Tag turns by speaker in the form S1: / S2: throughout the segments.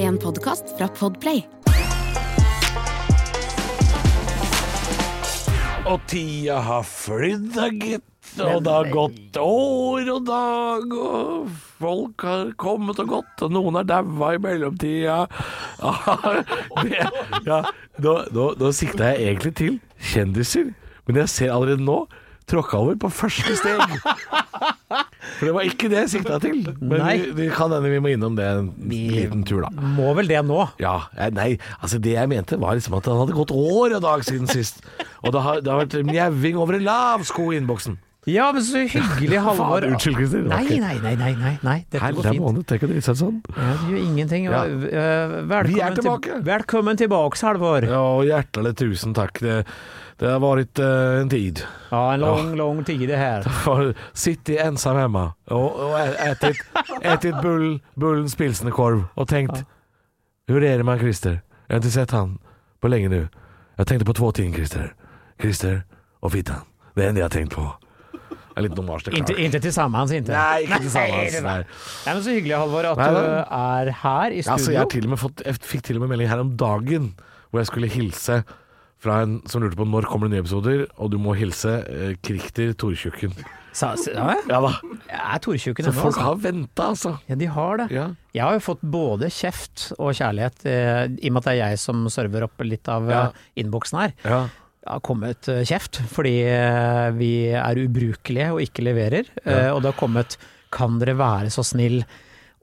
S1: en podkast fra Podplay.
S2: Og tida har flydd, da, gitt. Og det har gått år og dag, og folk har kommet og gått, og noen har daua i mellomtida. Ja, det, ja, nå, nå, nå sikta jeg egentlig til kjendiser, men jeg ser allerede nå tråkka over på første steg. For det var ikke det jeg sikta til. Men
S3: Nei.
S2: vi, vi kan hende vi må innom det en liten tur, da.
S3: Må vel det nå.
S2: Ja, eh, nei, altså det jeg mente var liksom at han hadde gått år og dag siden sist. Og det har, det har vært mjauing over en lav sko i innboksen.
S3: Ja, men så hyggelig, Halvor.
S2: Faen, unnskyld, Kristin.
S3: Nei, nei, nei, nei, nei, nei. Dette går
S2: Herre
S3: fint.
S2: måned, tenk å drite seg ut sånn.
S3: Ja, det gjør ingenting.
S2: Ja.
S3: Eh, Velkommen,
S2: Vi er
S3: til-
S2: tilbake.
S3: velkommen tilbake, Halvor.
S2: Ja, og hjertelig tusen takk. Det, det har vært eh, en tid.
S3: Ja, en lang, lang tid det her.
S2: For Sitte ensam hjemme og, og etet, etet bull, bullens pilsnerkorv og tenkt Hur är det med Christer? Jag har inte sett han på länge nu. Jag tänkte på två ting Christer. Christer och Fittan. Det är det enda jag har tänkt på. Jag är lite nommage, det är klart.
S3: Inte, inte tillsammans inte.
S2: Nej, inte tillsammans,
S3: det är
S2: nej.
S3: bra. Nej, men så hyggelig Halvor att
S2: Nej,
S3: du
S2: men-
S3: är här i
S2: Altså,
S3: studio.
S2: jeg, har til og med fått, jeg fikk til og med melding her om dagen hvor jeg skulle hilse fra en som lurte på når kommer det nye episoder, og du må hilse eh, Krikter Tortjukken.
S3: Sa- sa- ja,
S2: Ja da.
S3: jeg er Tortjukken
S2: Så
S3: ennå.
S2: folk
S3: Altså.
S2: har venta, altså.
S3: Ja, de har det.
S2: Ja.
S3: Jeg har jo fått både kjeft og kjærlighet, eh, i og med at det er jeg som server opp litt av
S2: Ja.
S3: eh, innboksen her.
S2: ja.
S3: Det har kommet eh, kjeft fordi eh, vi er ubrukelige og ikke leverer. eh, Og det har kommet 'kan dere være så snill'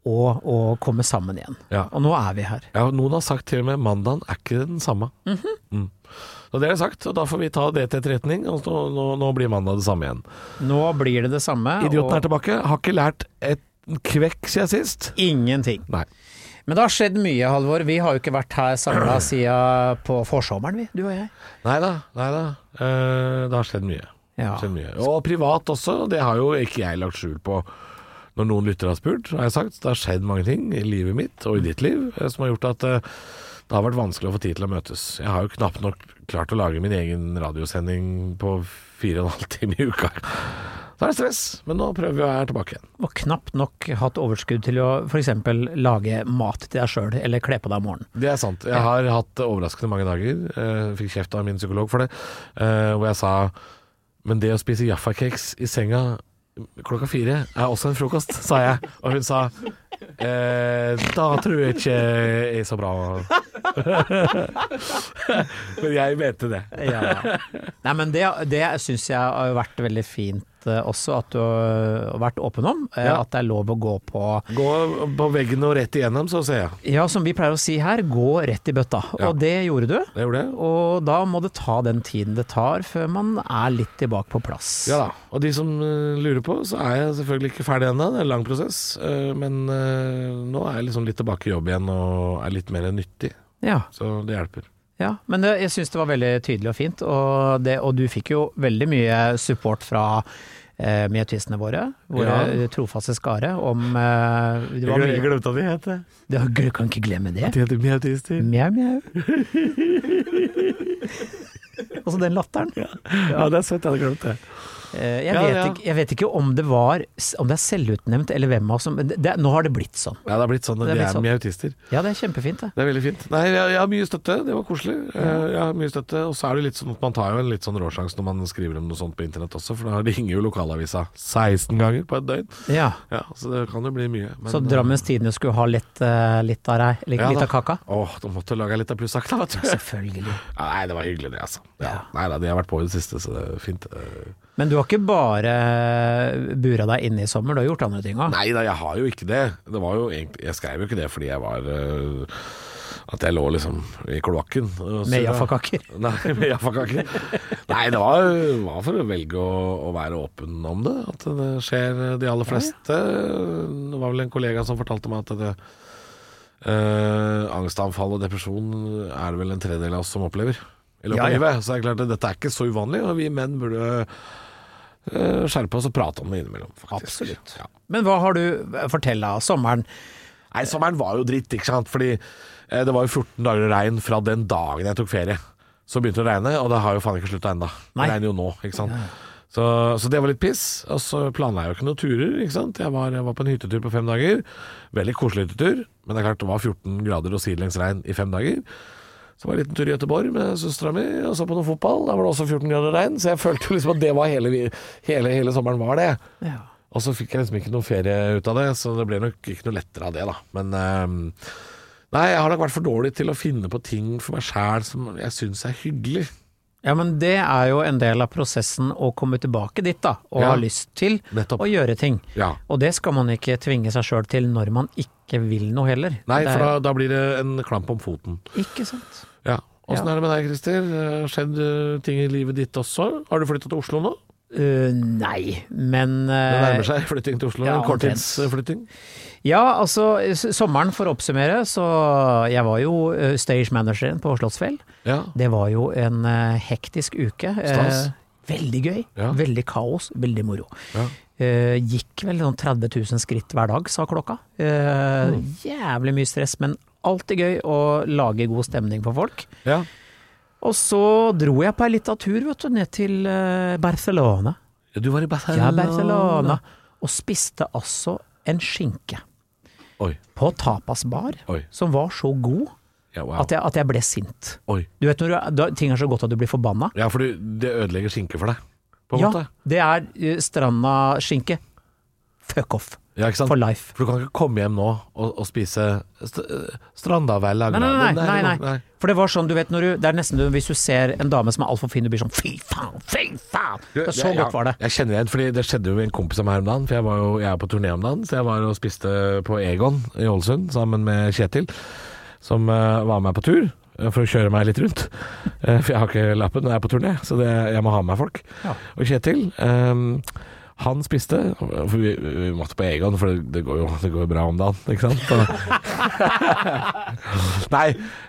S3: og, og komme sammen igjen.
S2: Ja.
S3: Og nå er vi her.
S2: Ja, noen har sagt til og med mandagen er ikke den samme. Mm. Så det er sagt, og da får vi ta det til etterretning, og nå, nå, nå blir mandag det samme igjen.
S3: Nå blir det det samme.
S2: Idioten er
S3: og
S2: tilbake, har ikke lært et kvekk siden sist.
S3: Ingenting.
S2: Nei.
S3: Men det har skjedd mye, Halvor. Vi har jo ikke vært her samla siden på forsommeren, vi. Du og jeg.
S2: Nei da, nei da. Eh, det har skjedd mye.
S3: Ja.
S2: Skjedd mye. Og privat også, det har jo ikke jeg lagt skjul på. Når noen lyttere har spurt, har jeg sagt det har skjedd mange ting i livet mitt og i ditt liv eh, som har gjort at eh, det har vært vanskelig å få tid til å møtes. Jeg har jo knapt nok klart å lage min egen radiosending på fire og en halv time i uka. Så er det stress, men nå prøver vi å være tilbake igjen.
S3: Og knapt nok hatt overskudd til å f.eks. lage mat til deg sjøl, eller kle på deg om morgenen.
S2: Det er sant. Jeg har hatt overraskende mange dager. eh, fikk kjeft av min psykolog for det. eh, hvor jeg sa Men det å spise Jaffa-cakes i senga klokka fire er også en frokost, sa jeg. Og hun sa eh, Da tror jeg ikke jeg er så bra. Men jeg mente det.
S3: Nei, men det, det syns jeg har vært veldig fint eh, også, at du har vært åpen om. eh,
S2: Ja.
S3: At det er lov å gå på
S2: Gå på veggen og rett igjennom, så ser jeg.
S3: Ja, som vi pleier å si her, gå rett i bøtta.
S2: Ja.
S3: Og det gjorde du.
S2: Det gjorde jeg.
S3: Og da må det ta den tiden det tar før man er litt tilbake på plass.
S2: Ja da. Og de som eh, lurer på, så er jeg selvfølgelig ikke ferdig ennå. Det er en lang prosess. Eh, men eh, nå er jeg liksom litt tilbake i jobb igjen og er litt mer nyttig.
S3: ja.
S2: Så det hjelper.
S3: Ja, men det, jeg syns det var veldig tydelig og fint, og, det, og du fikk jo veldig mye support fra eh, Mietistene våre, våre
S2: Ja.
S3: trofaste skare, om eh, Det var mye
S2: glemte at de het det.
S3: det, Du kan ikke glemme det.
S2: De heter Miautister.
S3: Mjau, mjau. Altså den latteren.
S2: Ja, det er søtt. Jeg hadde glemt det.
S3: Eh, Jeg
S2: Ja,
S3: vet,
S2: ja.
S3: Ikke, jeg vet ikke om det var Om det er selvutnevnt eller hvem av oss som men det, det, Nå har det blitt sånn.
S2: Ja, det har blitt sånn.
S3: Det
S2: De
S3: er blitt
S2: er
S3: sånn.
S2: miautister.
S3: Ja, det er kjempefint, det.
S2: Det er veldig fint. Nei, jeg, jeg har mye støtte. Det var koselig. Eh, Jeg har mye støtte. Og så er det litt sånn at man tar jo en litt sånn råsjanse når man skriver om noe sånt på internett også, for da ringer jo lokalavisa 16 ganger på et døgn.
S3: Ja.
S2: Ja, Så det kan jo bli mye. Men,
S3: Så Drammens Tidende skulle ha litt, eh, litt av deg, litt,
S2: Ja
S3: litt
S2: da.
S3: av kaka?
S2: Åh, da måtte jeg lage litt av plussak, da, vet du.
S3: Selvfølgelig.
S2: Ja, Nei, det var hyggelig det, altså. Ja. Nei da, de har vært på i det siste, så det er fint. Eh,
S3: Men du har ikke bare bura deg inne i sommer, du har gjort andre ting òg?
S2: Nei da, jeg har jo ikke det. Det var jo egentlig Jeg skrev jo ikke det fordi jeg var eh, At jeg lå liksom i kloakken. og så-
S3: Med jaffakaker.
S2: Nei, med jaffakaker. Nei, det var, var for å velge å, å være åpen om det. At det skjer eh, de aller fleste. Det var vel en kollega som fortalte meg at det eh, angstanfall og depresjon er det vel en tredjedel av oss som opplever i løpet
S3: Ja,
S2: av
S3: ja.
S2: livet. Så det er klart at dette er ikke så uvanlig, og vi menn burde eh, skjerpe oss og prate om det innimellom. Faktisk.
S3: Absolutt.
S2: Ja.
S3: Men hva har du eh, Fortell da, sommeren.
S2: Nei, sommeren var jo dritt, ikke sant? Fordi eh, det var jo 14 dager regn fra den dagen jeg tok ferie. Så begynte det å regne, og det har jo faen ikke slutta ennå.
S3: Nei.
S2: Det regner jo nå, ikke sant. Så, så det var litt piss. Og så planla jeg jo ikke noen turer. ikke sant? Jeg var, jeg var på en hyttetur på fem dager. Veldig koselig hyttetur, men det er klart det var 14 grader og sidelengs regn i fem dager. Så var det en liten tur i Gøteborg med søstera mi og så på noe fotball. Da var det også 14 grader regn, så jeg følte jo liksom at det var hele, vi- hele, hele sommeren var det.
S3: Ja.
S2: Og så fikk jeg liksom ikke noe ferie ut av det, så det ble nok ikke noe lettere av det, da. Men ehm, Nei, jeg har nok vært for dårlig til å finne på ting for meg sjæl som jeg syns er hyggelig.
S3: Ja, men det er jo en del av prosessen å komme tilbake dit, da, og
S2: Ja.
S3: ha lyst til
S2: Nettopp.
S3: å gjøre ting.
S2: Ja.
S3: Og det skal man ikke tvinge seg sjøl til når man ikke vil noe heller.
S2: Nei,
S3: det
S2: for
S3: er,
S2: da, da blir det en klamp om foten.
S3: Ikke sant.
S2: Ja. Åssen er det med deg, Christer? Har skjedd eh, ting i livet ditt også? Har du flytta til Oslo nå?
S3: Uh, nei, men
S2: Det
S3: uh,
S2: nærmer seg flytting til Oslo.
S3: ja,
S2: Korttidsflytting.
S3: Ja, altså, s- sommeren for å oppsummere, så jeg var jo uh, stage manageren på Slottsfjell.
S2: Ja.
S3: Det var jo en eh, hektisk uke.
S2: Stas.
S3: Eh, veldig gøy,
S2: Ja.
S3: veldig kaos, veldig moro.
S2: Ja.
S3: Eh, gikk vel sånn 30 000 skritt hver dag, sa klokka. Eh,
S2: Mm.
S3: Jævlig mye stress, men alltid gøy å lage god stemning for folk.
S2: ja.
S3: Og så dro jeg på ei lita tur, vet du, ned til eh, Barcelona.
S2: Du var i Barcelona.
S3: Ja, Barcelona. Og spiste altså en skinke
S2: Oi.
S3: på tapasbar
S2: Oi.
S3: som var så god
S2: Ja, wow.
S3: at jeg, at jeg ble sint.
S2: Oi.
S3: Du vet når du, er- da, ting er så godt at du blir forbanna.
S2: Ja, for du, det ødelegger skinke for deg, på en
S3: ja,
S2: måte.
S3: det er eh, stranda-skinke. Fuck off.
S2: Ja, ikke sant?
S3: For life.
S2: For du kan ikke komme hjem nå og, og spise st øh, Strandavær lagra
S3: Nei, nei, nei.
S2: Det
S3: nei,
S2: er-
S3: nei. For det var sånn, du vet når du Det er nesten du, hvis du ser en dame som er altfor fin, du blir sånn fy faen, fy faen! Det er så
S2: Jeg-
S3: godt var det.
S2: Jeg kjenner igjen, fordi det skjedde jo med en kompis av meg her om dagen. For jeg, var jo, jeg er på turné om dagen, så jeg var og spiste på Egon i Ålesund sammen med Kjetil, som eh, var med meg på tur. eh, For å kjøre meg litt rundt. Eh, For jeg har ikke lappen når jeg er på turné, så det, jeg må ha med meg folk.
S3: Ja.
S2: Og Kjetil, ehm, han spiste For vi, vi måtte på Egon, for det, det går jo det går jo bra om dagen, ikke sant? Så, Nei,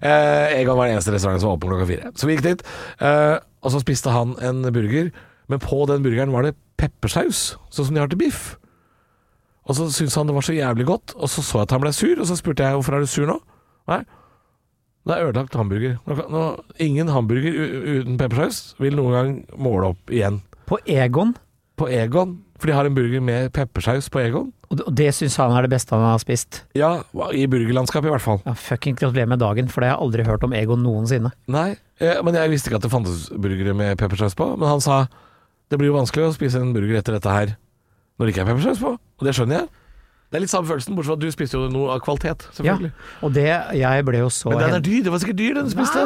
S2: eh, Egon var den eneste restauranten som var åpen klokka fire. Så vi gikk dit, eh, og så spiste han en burger. Men på den burgeren var det peppersaus, sånn som de har til biff. Og så syntes han det var så jævlig godt, og så så jeg at han ble sur. Og så spurte jeg hvorfor er du sur nå? Nei, det er ødelagt hamburger. Nå, kan- nå, ingen hamburger u uten peppersaus vil noen gang måle opp igjen.
S3: På Egon,
S2: På Egon, for de har en burger med peppersaus på Egon.
S3: og det- og det syns han er det beste han har spist.
S2: Ja, i burgerlandskapet i hvert fall.
S3: Ja, Fucking gratulerer med dagen, for det har jeg aldri hørt om Egon noensinne.
S2: Nei, eh, men jeg visste ikke at det fantes burgere med peppersaus på. Men han sa det blir jo vanskelig å spise en burger etter dette her når det ikke er peppersaus på. Og det skjønner jeg. Det er litt samme følelsen, bortsett fra at du spiste jo noe av kvalitet,
S3: Ja,
S2: selvfølgelig.
S3: og det Jeg ble jo så
S2: Men den
S3: hen-
S2: er dyr, det var sikkert dyr den du spiste.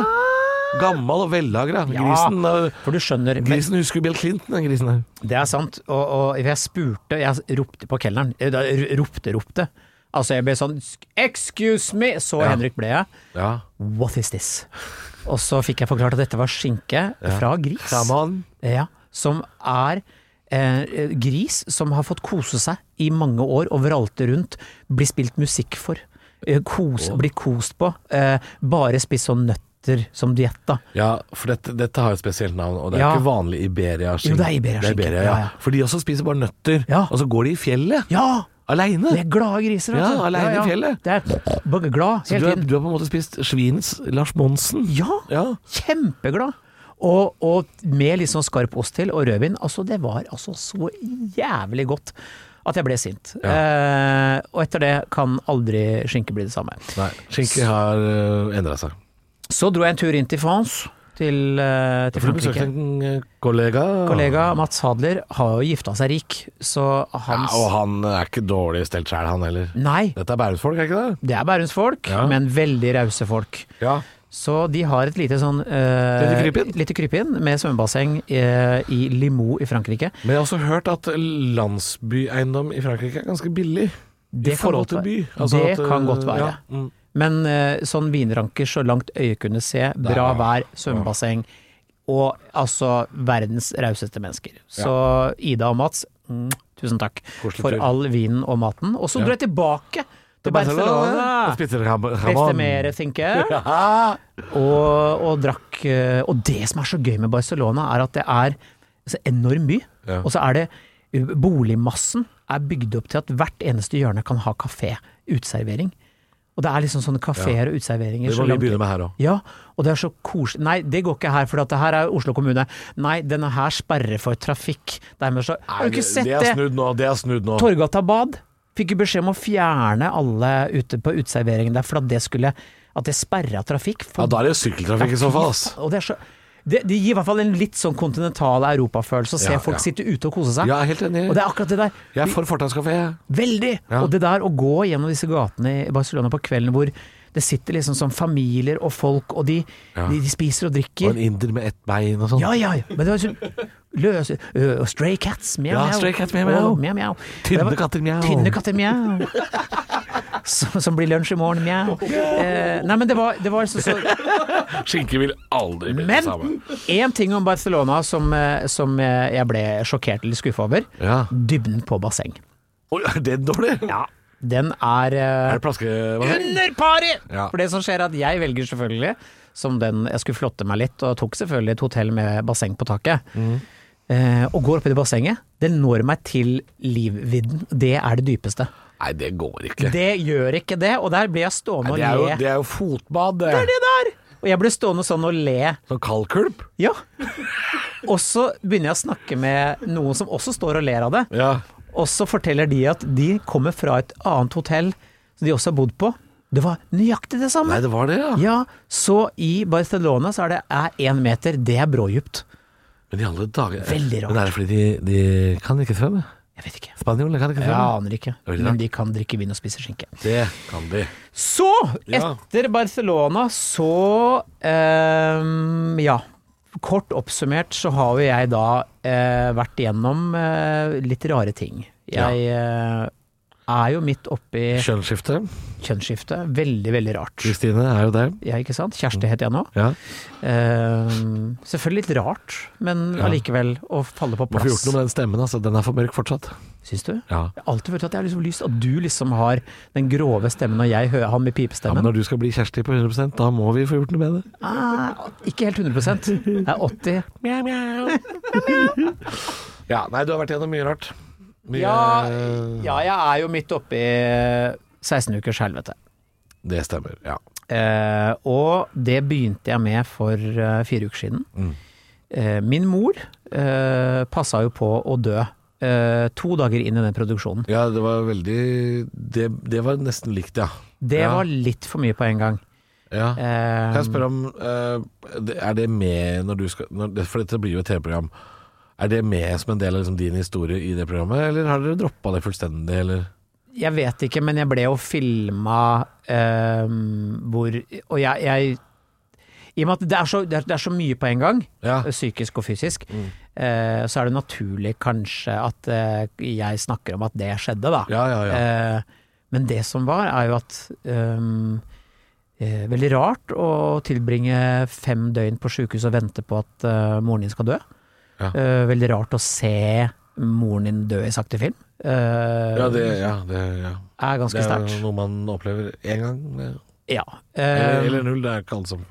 S2: Gammel og vellagra.
S3: Ja.
S2: Grisen, eh,
S3: For du skjønner, men
S2: grisen husker jo Bill Clinton, den grisen her.
S3: det er sant. Og, og jeg spurte, jeg ropte på kelneren. Eh, da- Ropte, ropte. Altså, jeg ble sånn Excuse me! Så
S2: Ja.
S3: Henrik ble jeg.
S2: Ja.
S3: What is this? Og så fikk jeg forklart at dette var skinke fra gris.
S2: Come on.
S3: Ja, som er eh, gris som har fått kose seg i mange år og vralte rundt, blir spilt musikk for, eh, kos, blir kost på, eh, bare spist sånn nøtter som diett da.
S2: Ja, for dette, dette har jo et spesielt navn, og det er
S3: Ja.
S2: ikke vanlig Iberia-skinke.
S3: Jo, det er Iberia-skinke.
S2: ja.
S3: Ja, ja.
S2: For de også spiser bare nøtter,
S3: Ja.
S2: og så går de i fjellet.
S3: Ja!
S2: Aleine.
S3: Det er glade griser, altså.
S2: Ja, alene i fjellet.
S3: Det er bare glad
S2: Så du
S3: hele
S2: har,
S3: tiden.
S2: du har på en måte spist svinets Lars Monsen?
S3: Ja,
S2: Ja.
S3: kjempeglad. Og, og med litt sånn skarp ost til og rødvin. Altså, det var altså så jævlig godt at jeg ble sint. Eh, og etter det kan aldri skinke bli det samme.
S2: Nei, skinke har endra seg.
S3: Så dro jeg en tur inn til France, til, eh, til
S2: For du besøkte
S3: Frankrike.
S2: en eh, kollega.
S3: Kollega Mats Hadler har jo gifta seg rik, så
S2: Ja,
S3: hans
S2: og han er ikke dårlig stelt sjæl, han heller.
S3: Nei,
S2: Dette er Bærumsfolk, er ikke det?
S3: det er Bærums folk,
S2: Ja.
S3: men veldig rause folk.
S2: Ja.
S3: Så de har et lite sånn eh,
S2: Lite krypinn?
S3: lite krypinn med svømmebasseng eh, i Limoux i Frankrike.
S2: Men jeg har også hørt at landsbyeiendom i Frankrike er ganske billig.
S3: Det
S2: i forhold
S3: godt
S2: til
S3: være-
S2: by.
S3: det
S2: at, eh,
S3: kan godt være.
S2: Ja, mm.
S3: Men eh, sånn vinranker så langt øyet kunne se, bra
S2: Der, ja.
S3: vær, svømmebasseng og altså verdens rauseste mennesker. Så Ida og Mats, mm, tusen takk
S2: Koselig
S3: for
S2: tur.
S3: all vinen og maten. Og så dro jeg tilbake til
S2: Og
S3: Barcelona!
S2: Spiser ham
S3: Spiste
S2: hamon.
S3: mer, tenker jeg.
S2: Ja.
S3: Og, og drakk eh, Og det som er så gøy med Barcelona, er at det er så enorm by.
S2: Ja.
S3: Og så er det eh, Boligmassen er bygd opp til at hvert eneste hjørne kan ha kafé, uteservering. Og det er liksom sånne kafeer og uteserveringer.
S2: Det
S3: så
S2: må vi
S3: langt-
S2: begynne med her òg.
S3: Ja, og det er så koselig Nei, det går ikke her, for at det her er Oslo kommune. Nei, denne her sperrer for trafikk. Dermed så Har du ikke sett
S2: Det er
S3: det?
S2: snudd nå. Det er snudd nå.
S3: Torgata bad fikk jo beskjed om å fjerne alle ute på uteserveringen der, for at det skulle At det sperra trafikk. For,
S2: Ja, da er det sykkeltrafikk i så fall, ass.
S3: og det, er så, det, det gir i hvert fall en litt sånn kontinental europafølelse å se
S2: Ja,
S3: folk
S2: ja.
S3: sitte ute og kose seg.
S2: Ja, jeg er helt enig.
S3: Og det er akkurat det der.
S2: Jeg er for fortauskafé. jeg.
S3: Veldig!
S2: Ja.
S3: Og det der å gå gjennom disse gatene i Barcelona på kvelden hvor det sitter liksom sånn familier og folk, og de,
S2: Ja.
S3: de, de spiser og
S2: Og
S3: drikker.
S2: en inder med ett bein og sånn.
S3: Ja, ja, ja. Men det var sånn løs, ø, og Stray cats, mjau,
S2: Ja,
S3: mjau.
S2: stray cats, mjau, mjau.
S3: Å, mjau, mjau. Det
S2: Tynne
S3: var-
S2: katter, mjau.
S3: Tynne katter, mjau. Som, som blir lunsj i morgen, mjau. Eh, nei, men det var, det var så, så
S2: Skinke vil aldri bli det samme.
S3: Men én ting om Barcelona som, eh, som eh, jeg ble sjokkert eller skuffa over.
S2: Ja.
S3: Dybden på basseng.
S2: Oi, er det dårlig?
S3: Den er, eh,
S2: Er det plaske...
S3: under pari!
S2: Ja.
S3: For det som skjer er at jeg velger selvfølgelig, som den jeg skulle flotte meg litt, og tok selvfølgelig et hotell med basseng på taket.
S2: Mm.
S3: Eh, og går opp i det bassenget. Det når meg til livvidden. Det er det dypeste.
S2: Nei, det går ikke.
S3: Det gjør ikke det, og der blir jeg
S2: Nei,
S3: stående
S2: det, er
S3: og
S2: jo,
S3: le.
S2: det er jo fotbad, det.
S3: Det der! Og jeg blir stående sånn og le.
S2: Sånn kaldkulp.
S3: Ja. Og så begynner jeg å snakke med noen som også står og ler av det.
S2: Ja.
S3: Og så forteller de at de kommer fra et annet hotell som de også har bodd på. Det var nøyaktig det samme!
S2: Nei, det var det, ja.
S3: Ja, så i Barcelona så er det er én meter, det er brådjupt.
S2: Men i alle dager
S3: Veldig rart.
S2: Men er det fordi de, de kan ikke svømme?
S3: Jeg vet ikke.
S2: Spanjolene kan ikke
S3: Jeg
S2: svømme?
S3: aner ikke.
S2: Veldig
S3: Men
S2: rart.
S3: de kan drikke vin og spise skinke.
S2: Det kan de.
S3: Så,
S2: Ja.
S3: etter Barcelona, så ehm, Ja. Kort oppsummert så har jo jeg da eh, vært igjennom eh, litt rare ting.
S2: Ja.
S3: Jeg eh, er jo midt oppi
S2: Kjønnsskifte.
S3: kjønnsskiftet. Veldig, veldig rart.
S2: Kristine er jo der.
S3: Ja, ikke sant?
S2: Mm.
S3: Kjersti heter jeg nå.
S2: Ja.
S3: Ehm, selvfølgelig litt rart, men
S2: Ja.
S3: allikevel å falle på
S2: Må få
S3: plass.
S2: gjort noe med den stemmen, altså. Den er for mørk fortsatt.
S3: Syns du? Jeg
S2: Ja.
S3: har alltid følt at jeg har liksom lyst at du liksom har den grove stemmen, og jeg hører han med
S2: ja, Men
S3: pipestemmen.
S2: når du skal bli Kjersti på 100 da må vi få gjort noe med det.
S3: ah, ikke helt 100 Jeg er 80
S2: Mjau, mjau. ja, nei, du har vært gjennom mye rart. Mye
S3: Ja, ja, jeg er jo midt oppi 16 ukers helvete.
S2: Det stemmer, ja.
S3: Eh, og det begynte jeg med for eh, fire uker siden.
S2: Mm.
S3: Eh, min mor eh, passa jo på å dø eh, to dager inn i den produksjonen.
S2: Ja, det var veldig Det, det var nesten likt, ja.
S3: Det
S2: Ja.
S3: var litt for mye på en gang.
S2: ja.
S3: Eh,
S2: Kan jeg spørre om eh, det- Er det med når du skal når, For dette blir jo et TV-program. Er det med som en del av liksom, din historie i det programmet, eller har dere droppa det fullstendig, eller?
S3: Jeg vet ikke, men jeg ble jo filma ehm, hvor Og jeg, jeg I og med at det er, så, det, er, det er så mye på en gang,
S2: Ja.
S3: psykisk og fysisk,
S2: Mm.
S3: eh, så er det naturlig kanskje at eh, jeg snakker om at det skjedde, da.
S2: Ja, ja, ja.
S3: Eh, men det som var, er jo at ehm, eh, Veldig rart å tilbringe fem døgn på sjukehus og vente på at eh, moren din skal dø.
S2: Ja.
S3: Eh, veldig rart å se moren din dø i sakte film. Eh,
S2: Ja, det, ja, det, ja.
S3: er
S2: det
S3: ganske
S2: er
S3: sterkt.
S2: jo noe man opplever én gang. eh,
S3: Ja.
S2: Eller,
S3: Eh,
S2: eller null, det er ikke alle som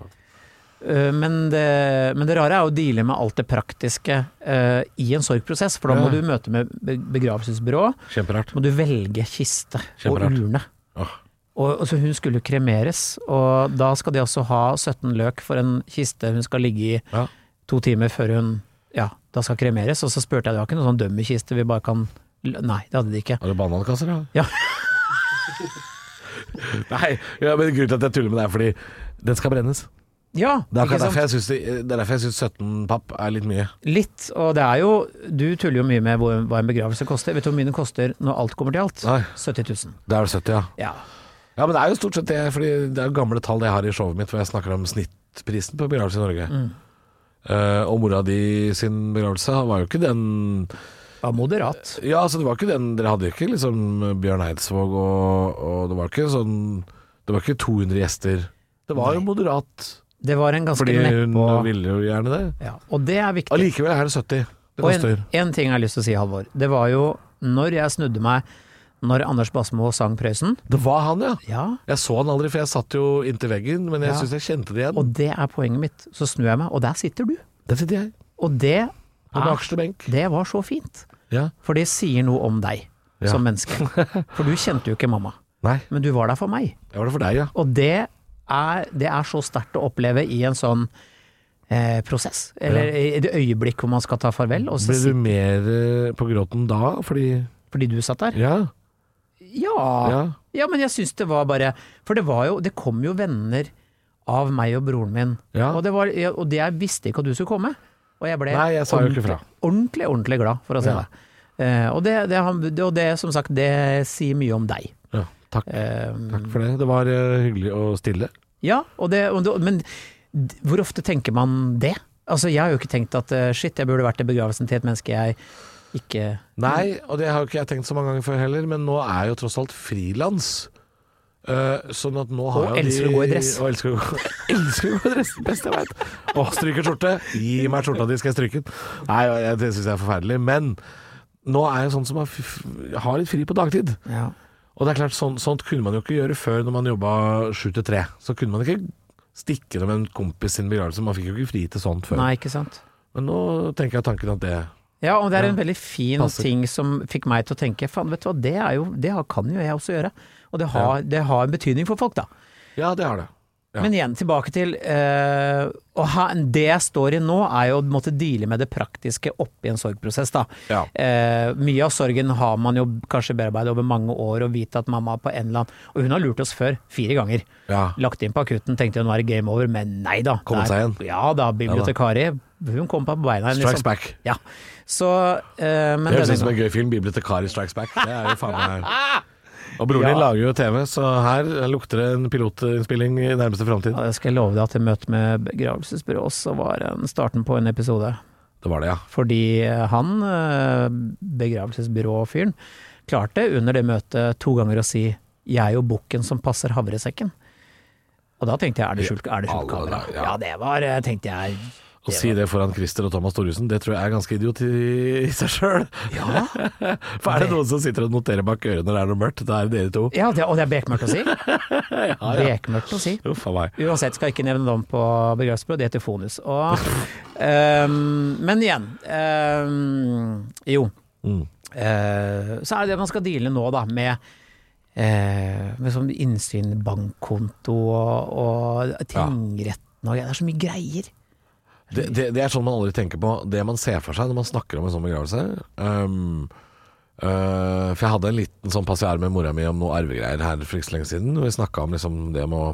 S3: eh, men, det, men det rare er å deale med alt det praktiske eh, i en sorgprosess, for da må
S2: Ja.
S3: du møte med be- begravelsesbyrå,
S2: Kjemperart.
S3: så må du velge kiste og
S2: Kjemperart.
S3: urne.
S2: Åh.
S3: Og, og så hun skulle jo kremeres, og da skal de også ha 17 løk for en kiste hun skal ligge i
S2: Ja.
S3: to timer før hun ja, da skal kremeres. Og så spurte jeg, det var ikke noen sånn dummy-kiste vi bare kan l- Nei, det hadde de ikke.
S2: Har du banankasser, da?
S3: Ja.
S2: Nei, ja, men grunnen til at jeg tuller med det er fordi den skal brennes.
S3: Ja,
S2: Det er
S3: ikke
S2: akkurat derfor
S3: sant?
S2: jeg syns det, det er derfor jeg synes 17 papp er litt mye.
S3: Litt, og det er jo Du tuller jo mye med hvor, hva en begravelse koster. Vet du hvor mye den koster når alt kommer til alt?
S2: Nei.
S3: 70 000.
S2: Da er det 70, ja.
S3: Ja.
S2: Ja, men det er jo stort sett det, fordi det er jo gamle tall jeg har i showet mitt, hvor jeg snakker om snittprisen på begravelse i Norge.
S3: Mm.
S2: Eh, og mora di sin begravelse var jo ikke den
S3: Var moderat.
S2: Ja, altså det var ikke den Dere hadde ikke liksom Bjørn Eidsvåg og, og Det var ikke sånn Det var ikke 200 gjester. Det var jo moderat,
S3: Det var en ganske
S2: fordi hun
S3: nedpå
S2: ville jo gjerne det.
S3: ja, Og det er viktig.
S2: Allikevel er det 70. Det
S3: Og en,
S2: koster.
S3: en ting jeg har lyst til å si, Halvor. Det var jo når jeg snudde meg når Anders Basmo sang Prøysen.
S2: Det var han, ja.
S3: Ja,
S2: Jeg så han aldri, for jeg satt jo inntil veggen, men jeg
S3: Ja.
S2: syns jeg kjente det igjen.
S3: og det er poenget mitt. Så snur jeg meg, og der sitter du.
S2: der sitter jeg,
S3: Og det,
S2: på
S3: Ah.
S2: bakerste benk.
S3: det var så fint.
S2: Ja.
S3: For det sier noe om deg
S2: Ja.
S3: som menneske. For du kjente jo ikke mamma.
S2: Nei,
S3: men du var der for meg.
S2: det var det for deg, ja.
S3: Og det er, det er så sterkt å oppleve i en sånn eh, prosess. Eller i det øyeblikk hvor man skal ta farvel, og så
S2: Ble
S3: sitter
S2: du mer eh, på gråten da? Fordi
S3: fordi du satt der.
S2: Ja.
S3: Ja,
S2: ja.
S3: ja men jeg syns det var bare For det var jo, det kom jo venner av meg og broren min.
S2: Ja.
S3: Og, det var, ja, og det jeg visste ikke at du skulle komme. Og jeg ble
S2: Nei, jeg sa jo ikke fra.
S3: ordentlig, ordentlig glad for å se
S2: Ja.
S3: deg. Eh, og, det, det, han- og det, som sagt, det sier mye om deg.
S2: ja. Takk.
S3: Eh,
S2: Takk for det. Det var eh, hyggelig og stille.
S3: ja, og det, og det, men d- hvor ofte tenker man det? Altså, jeg har jo ikke tenkt at eh, shit, jeg burde vært i begravelsen til et menneske jeg ikke
S2: Nei, og det har jo ikke jeg tenkt så mange ganger før heller, men nå er jeg jo tross alt frilans. Eh, sånn at nå har
S3: Og
S2: jeg jo
S3: elsker
S2: de-
S3: å gå i dress.
S2: Og elsker å gå, elsker å gå i dress, best jeg veit. Og stryker skjorte. Gi meg skjorta di, skal jeg stryke den. Nei, jeg- det syns jeg er forferdelig. Men nå er jeg sånn som har, f- har litt fri på dagtid.
S3: Ja.
S2: Og det er klart, sånt, sånt kunne man jo ikke gjøre før når man jobba sju til tre. Så kunne man ikke stikke det med en kompis sin begravelse. Man fikk jo ikke fri til sånt før.
S3: Nei, ikke sant.
S2: Men nå tenker jeg tanken at det
S3: Ja, og det er en veldig fin
S2: Passer.
S3: ting som fikk meg til å tenke faen, vet du hva, det, er jo, det har- kan jo jeg også gjøre. Og det har, det har en betydning for folk, da.
S2: Ja, det har det. Ja.
S3: Men igjen, tilbake til eh, og her, Det jeg står i nå, er jo å måtte deale med det praktiske oppi en sorgprosess. da.
S2: Ja.
S3: Eh, mye av sorgen har man jo kanskje bearbeidet over mange år, og vite at mamma på en eller annen Og hun har lurt oss før, fire ganger.
S2: Ja.
S3: Lagt inn på akutten, tenkte hun var det game over, men nei da.
S2: Kom
S3: Det er-
S2: seg igjen.
S3: Ja da, bibliotekari. Hun kom på beina igjen,
S2: Strikes
S3: liksom.
S2: back.
S3: Ja. Så eh,
S2: Det
S3: men
S2: høres
S3: denne
S2: ut som
S3: gangen-
S2: en gøy film. 'Bibliotekari Strikes Back'. Det er jo faen meg
S3: Ah!
S2: Og broren din
S3: Ja.
S2: lager jo TV, så her lukter det en pilotinnspilling i nærmeste framtid.
S3: Ja, jeg skal love deg at et møte med begravelsesbyrået også var en starten på en episode.
S2: Det var det, ja.
S3: Fordi han, eh, begravelsesbyråfyren, klarte under det møtet to ganger å si 'jeg er jo bukken som passer havresekken'. Og da tenkte jeg 'er det skjult, er det skjult
S2: Ja, alle
S3: kamera'?
S2: der, ja.
S3: Ja, det var eh, tenkte jeg.
S2: Å si det foran Christer og Thomas Thoresen, det tror jeg er ganske idiot i i seg sjøl.
S3: Ja,
S2: For er det noen som sitter og noterer bak øret når det er noe mørkt, det er dere to.
S3: ja det, og det er bekmørkt å si. Bekmørkt å si.
S2: Uff a meg.
S3: Uansett skal jeg ikke nevne navn på begravelsesbyrået, det heter Fonus. Og, ehm, men igjen. ehm, jo.
S2: Mm.
S3: Eh, så er det det man skal deale nå, da, med, eh, med sånn innsyn, bankkonto og, og tingretten og greier. Det er så mye greier.
S2: Det, det, det er sånn man aldri tenker på. Det man ser for seg når man snakker om en sånn begravelse ehm, øh, For jeg hadde en liten sånn passiar med mora mi om noe arvegreier her for ikke så lenge siden. hvor Vi snakka om liksom det med å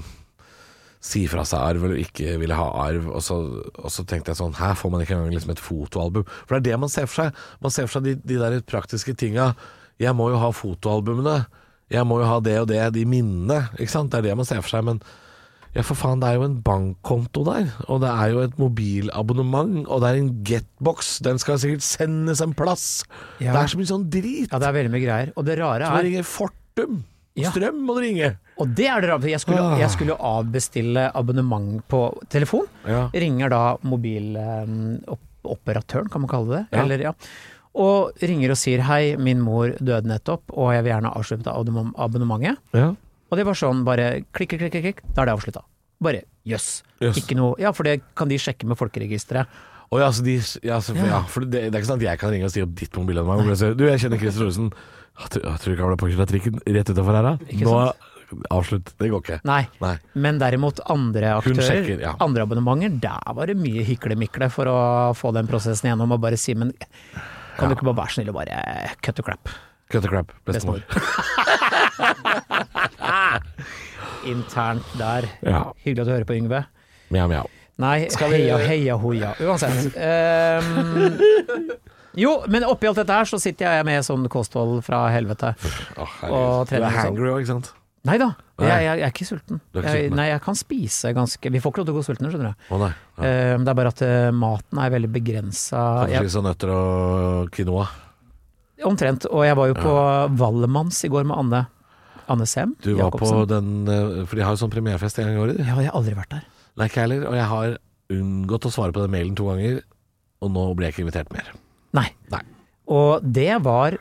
S2: si fra seg arv eller ikke ville ha arv. Og så, og så tenkte jeg sånn Her får man ikke engang liksom et fotoalbum. For det er det man ser for seg. Man ser for seg de, de der praktiske tinga. Jeg må jo ha fotoalbumene. Jeg må jo ha det og det, de minnene. Ikke sant? Det er det man ser for seg. Men ja, for faen, det er jo en bankkonto der, og det er jo et mobilabonnement, og det er en getbox, den skal sikkert sendes en plass.
S3: Ja.
S2: Det er så mye sånn drit.
S3: Ja, det er veldig mye greier. Og det rare
S2: Man
S3: er
S2: ringer Fortum.
S3: Ja.
S2: Strøm må du ringe.
S3: Og det er det rare, for jeg skulle, jeg skulle avbestille abonnement på telefon.
S2: Ja.
S3: Ringer da mobiloperatøren, kan man kalle det.
S2: Ja.
S3: Eller, ja. Og ringer og sier hei, min mor døde nettopp, og jeg vil gjerne avslutte abonnem- abonnementet.
S2: Ja.
S3: Og det var sånn bare klikk, klikk, klikk, klikk da er det avslutta. Bare jøss.
S2: Jøss.
S3: Ikke noe Ja, for det kan de sjekke med folkeregisteret.
S2: Og ja, så de, ja, så, for, ja. for det, det er ikke sånn at jeg kan ringe og si opp ditt mobilabonnement. og si, Du, jeg kjenner Christer Thoresen. Jeg tror- jeg tror ikke han ble påkjørt av trikken rett utenfor her, da.
S3: Ikke
S2: Nå Avslutt. Det går ikke.
S3: Nei.
S2: Nei.
S3: Men derimot andre
S2: Kun
S3: aktører,
S2: sjekker, ja.
S3: andre abonnementer, der var det mye hiklemikle for å få den prosessen gjennom og bare si men kan du ikke bare være snill og bare cut to crap?
S2: Cut the crap. Bestemor.
S3: Internt der.
S2: Ja.
S3: Hyggelig at du hører på, Yngve.
S2: Mjau, mjau.
S3: Nei, heia, heia, hoia. Uansett. Ehm, jo, men oppi alt dette her så sitter jeg med sånn kosthold fra helvete.
S2: Å, herregud. Du er
S3: Og sånn. trening,
S2: hangry òg, ikke sant?
S3: Nei da,
S2: Nei.
S3: jeg, jeg, jeg er ikke sulten.
S2: Du er ikke
S3: jeg,
S2: sulten, nei.
S3: nei, jeg kan spise ganske Vi får ikke lov til å gå sultne, skjønner du.
S2: Å nei. Ja.
S3: Eh, det er bare at eh, maten er veldig begrensa.
S2: Kan
S3: Jeg-
S2: spise nøtter og quinoa.
S3: Omtrent. Og jeg var jo på Vallemanns i går med Anne. Anne Sem
S2: Du var på den eh, For de har jo sånn premierefest en gang i året. de.
S3: Ja, jeg har aldri vært der.
S2: Nei, ikke jeg heller. Og jeg har unngått å svare på den mailen to ganger, og nå ble jeg ikke invitert mer.
S3: Nei.
S2: Nei.
S3: Og det var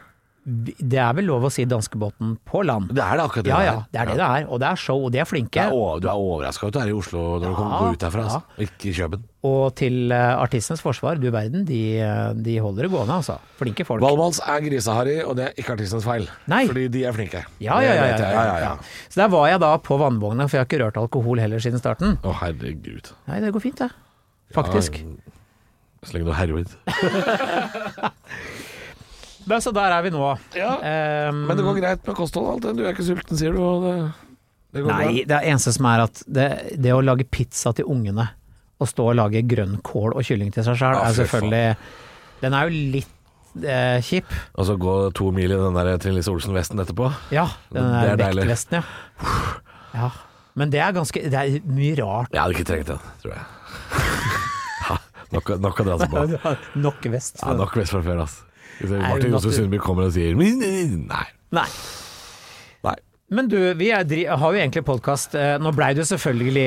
S3: Det er vel lov å si danskebåten på land?
S2: Det er det akkurat det
S3: Ja
S2: det
S3: ja,
S2: er.
S3: det er det det er. Og det er show, og de er
S2: Det
S3: flinke.
S2: er over- Du er overraska at du er i Oslo når du kommer går ut herfra,
S3: ja.
S2: altså. Ikke i Køben.
S3: Og til eh, artistenes forsvar, du verden, de, eh, de holder det gående, altså. Flinke folk.
S2: Valmans er griseharry, og det er ikke artistens feil.
S3: Nei.
S2: Fordi de er flinke.
S3: Ja,
S2: Det
S3: ja, ja,
S2: vet
S3: ja,
S2: jeg.
S3: ja, ja. Så der var jeg da på vannvogna, for jeg har ikke rørt alkohol heller siden starten.
S2: Å, herregud. Ah,
S3: Nei, det går fint, det. Faktisk.
S2: Så lenge du har heroin.
S3: Men så der er vi nå. Ehm,
S2: Men det går greit med kosthold og alt det. Du er ikke sulten, sier du. Og det, det går
S3: nei, det er eneste som er at det, det å lage pizza til ungene, og stå og lage grønnkål og kylling til seg sjøl,
S2: Ja,
S3: er
S2: fy
S3: selvfølgelig Den er jo litt eh, kjip.
S2: bra. Og så gå to mil i den der Trine Lise Olsen-vesten etterpå.
S3: Ja, den
S2: Det
S3: er,
S2: er deilig.
S3: vektvesten, ja. ja. Men det er ganske Det er mye rart.
S2: Jeg hadde ikke trengt den, tror jeg. Ha, nok, nok å dra seg på.
S3: Nok vest.
S2: Ja, nok vest fra før, altså. Hvis
S3: jo
S2: Martin Josef
S3: natur-
S2: Sundby kommer og sier Nei.
S3: Nei.
S2: Nei.
S3: Men du, vi er, dri- har jo egentlig podkast. Nå blei det jo selvfølgelig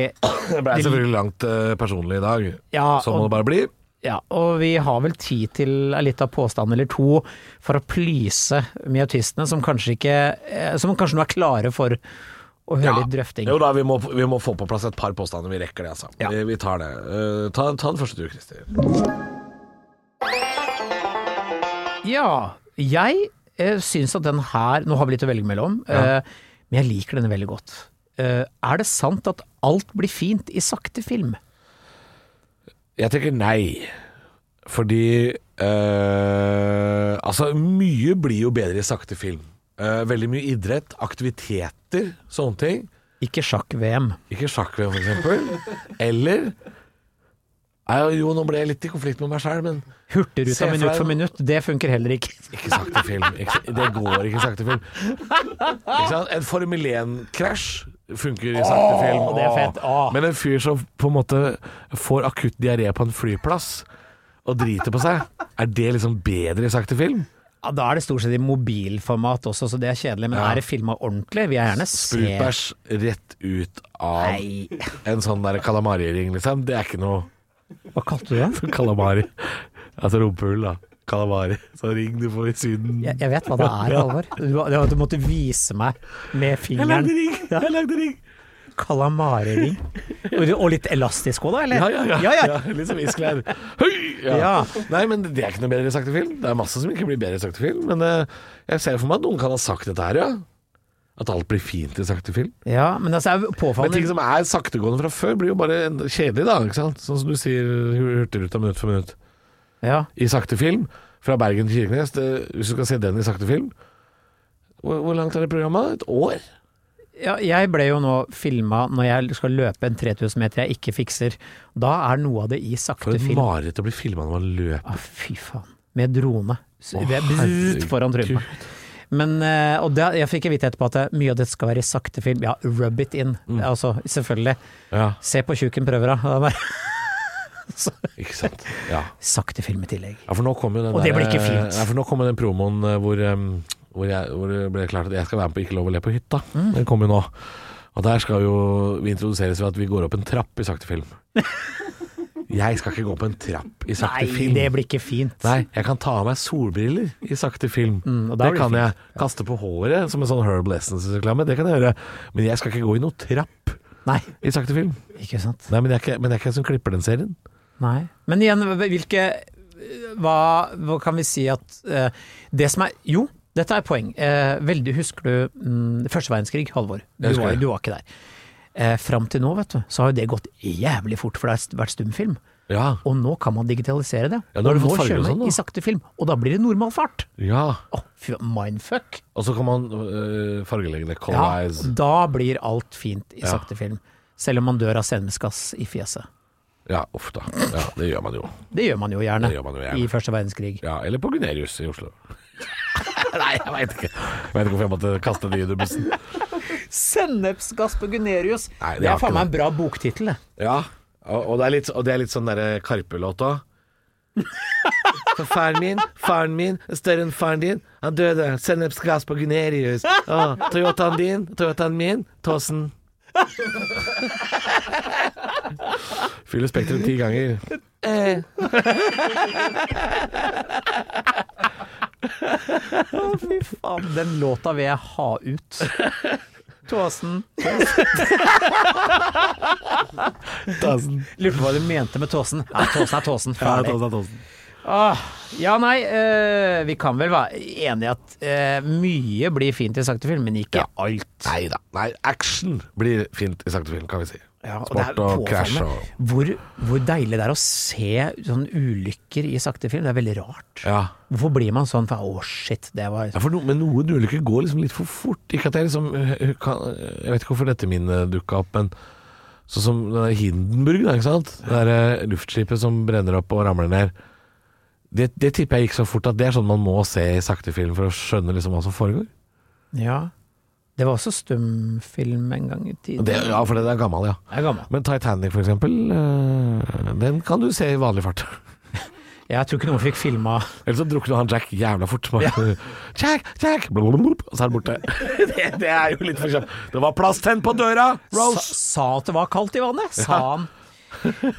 S2: Det ble selvfølgelig langt eh, personlig i dag.
S3: Ja,
S2: Sånn må
S3: og-
S2: det bare bli.
S3: Ja, og vi har vel tid til litt av påstand eller to for å plyse med autistene, som kanskje ikke eh, Som kanskje nå er klare for å høre
S2: Ja.
S3: litt drøfting.
S2: Jo da, vi må, vi må få på plass et par påstander. Vi rekker det, altså.
S3: Ja.
S2: Vi, vi tar det. Eh, ta, ta den første du, Christer.
S3: Ja, jeg eh, syns at den her Nå har vi litt å velge mellom, eh, men jeg liker denne veldig godt. Eh, er det sant at alt blir fint i sakte film?
S2: Jeg tenker nei. Fordi eh, Altså, mye blir jo bedre i sakte film. Eh, veldig mye idrett, aktiviteter, sånne ting.
S3: Ikke sjakk-VM.
S2: Ikke sjakk-VM, for eksempel. Eller Nei, Jo, nå ble jeg litt i konflikt med meg sjøl, men Se
S3: Hurtigruta
S2: for
S3: minutt
S2: deg-
S3: for minutt, det funker heller ikke.
S2: ikke sakte film. Ikke, det går ikke i sakte film. Ikke sant? En Formel 1-krasj funker i sakte film.
S3: det er fett. Åh.
S2: Men en fyr som på en måte får akutt diaré på en flyplass og driter på seg, er det liksom bedre i sakte film?
S3: Ja, da er det stort sett i mobilformat også, så det er kjedelig. Men
S2: Ja.
S3: er det filma ordentlig? Vil jeg gjerne se
S2: Sprutbæsj rett ut av
S3: Nei.
S2: en sånn der kalamariring, liksom. Det er ikke noe
S3: Hva kalte du det?
S2: Kalamari. Altså rumpehull, da. Kalamari. Sånn ring du får i Syden.
S3: Jeg, jeg vet hva det er, Halvor. Du, du, du måtte vise meg med
S2: Jeg lagde
S3: fingeren.
S2: ring! Jeg lagde ring!
S3: Kalamariring. Og og litt elastisk òg, da? Eller?
S2: Ja, ja, ja.
S3: ja, ja.
S2: litt som isklær. Høy! Ja.
S3: Ja.
S2: Nei, men det er ikke noe bedre i sakte film. Det er masse som ikke blir bedre i sakte film, men eh, jeg ser for meg at noen kan ha sagt dette her, ja. At alt blir fint i sakte film.
S3: ja men altså, det er jo
S2: sånn. Men ting
S3: påfallende
S2: som er saktegående fra før, blir jo bare en- kjedelig, da. ikke sant? Sånn som du sier Hurtigruta minutt for minutt.
S3: ja.
S2: I sakte film, fra Bergen til Kirkenes, det, hvis du skal se den i sakte film hvor, hvor langt er det programmet? Et år?
S3: ja, jeg ble jo nå filma når jeg skal løpe en 3000 meter jeg ikke fikser. Da er noe av det i
S2: For
S3: sakte
S2: et
S3: film.
S2: mareritt å bli filma når man løper.
S3: Ah, fy faen. Med drone. Så
S2: Å,
S3: det er bzzzt foran
S2: herregud.
S3: trynet. Men, eh, og det, jeg fikk vite etterpå at det- mye av dette skal være i sakte film. Ja, rub it in.
S2: Mm.
S3: Altså, selvfølgelig.
S2: Ja,
S3: Se på Tjukken prøver, da. Det er bare
S2: ikke sant. Ja.
S3: Sakte film i tillegg.
S2: Ja, for nå kom jo den
S3: Og det
S2: der-
S3: blir ikke fint.
S2: Nei, for nå kom jo den promoen eh, hvor, em, hvor, jeg, hvor det ble klart at jeg skal være med på Ikke lov å le på hytta.
S3: Mm.
S2: Den kom jo nå. Og der skal jo vi introduseres ved at vi går opp en trapp i sakte film. Jeg skal ikke gå opp en trapp i sakte
S3: Nei,
S2: film.
S3: det blir ikke fint.
S2: Nei, jeg kan ta av meg solbriller i sakte film.
S3: Mm, og da
S2: det
S3: blir det
S2: kan jeg. Kaste på håret som en sånn Herbal Essence-reklame. Det kan jeg gjøre. Men jeg skal ikke gå i noe trapp
S3: Nei,
S2: i sakte film.
S3: ikke sant.
S2: Nei, men det er ikke, men det er ikke jeg som klipper den serien.
S3: Nei. Men igjen, hvilke Hva, hva kan vi si at eh, Det som er Jo, dette er poeng. Eh, veldig Husker du mm, første verdenskrig, Halvor? Du
S2: Jeg husker
S3: var,
S2: det.
S3: du var ikke der. Uh, Fram til nå, vet du, så har jo det gått jævlig fort, for det har vært stumfilm.
S2: Ja.
S3: Og nå kan man digitalisere det.
S2: Ja, nå har
S3: og
S2: du fått farger
S3: kjører
S2: og
S3: man
S2: sånn, da.
S3: i sakte film, og da blir det normal fart.
S2: ja.
S3: Åh, fy- mindfuck.
S2: Og så kan man øh, fargelegge det. Color
S3: Ja,
S2: eyes.
S3: da blir alt fint i
S2: Ja.
S3: sakte film. Selv om man dør av senmesgass i fjeset.
S2: Ja, uff da. Ja, det gjør man jo.
S3: Det gjør man jo gjerne,
S2: Det gjør man jo gjerne.
S3: i første verdenskrig.
S2: Ja, eller på Gunerius i Oslo. Nei, jeg veit ikke. Jeg vet ikke hvorfor jeg måtte kaste det under bussen.
S3: Sennepsgass på Gunerius!
S2: Nei, det
S3: det
S2: har
S3: er faen
S2: ikke
S3: meg en bra boktittel, det.
S2: Ja, og, og, det er litt, og det er litt sånn derre Karpe-låt òg. For Altså, faren min, faren min, er større enn faren din, han døde. Sennepsgass på Gunerius. Å, Toyotaen din, Toyotaen min, Tåsen. Fyller Spektrum ti ganger.
S3: Å, Fy faen, den låta vil jeg ha ut. Tåsen.
S2: Tusen.
S3: Lurer på hva du mente med tåsen. Ja, tåsen er tåsen.
S2: Ja,
S3: Ferdig.
S2: tusen, tusen.
S3: Ah, ja, nei, eh, vi kan vel være enige at eh, mye blir fint i sakte film, men ikke alt.
S2: Nei da. Nei, action blir fint i sakte film, kan vi si.
S3: Ja, og det er
S2: Sport og crash
S3: påfallende
S2: og
S3: hvor, hvor deilig det er å se sånne ulykker i sakte film. Det er veldig rart.
S2: ja.
S3: Hvorfor blir man sånn? For, Å, shit, det var
S2: Ja, for no, men noen ulykker går liksom litt for fort. Ikke at jeg liksom øh, kan, Jeg vet ikke hvorfor dette minnet dukka opp, men sånn som den der Hindenburg, da, ikke sant? Det der øh, luftskipet som brenner opp og ramler ned. Det, det tipper jeg gikk så fort at det er sånn man må se i sakte film for å skjønne liksom hva som foregår.
S3: Ja. Det var også stumfilm en gang i tiden.
S2: Det, ja, for den er gammel, ja.
S3: Jeg er gammel.
S2: Men Titanic, for eksempel, øh, den kan du se i vanlig fart.
S3: Jeg tror ikke noen fikk filma
S2: Eller så drukner han Jack jævla fort. Bare, Jack, Jack! Blablabla, og så er han borte. det, det er jo litt for eksempel. Det var plasttenn på døra,
S3: sa,
S2: Rose!
S3: sa at det var kaldt i vannet, sa han.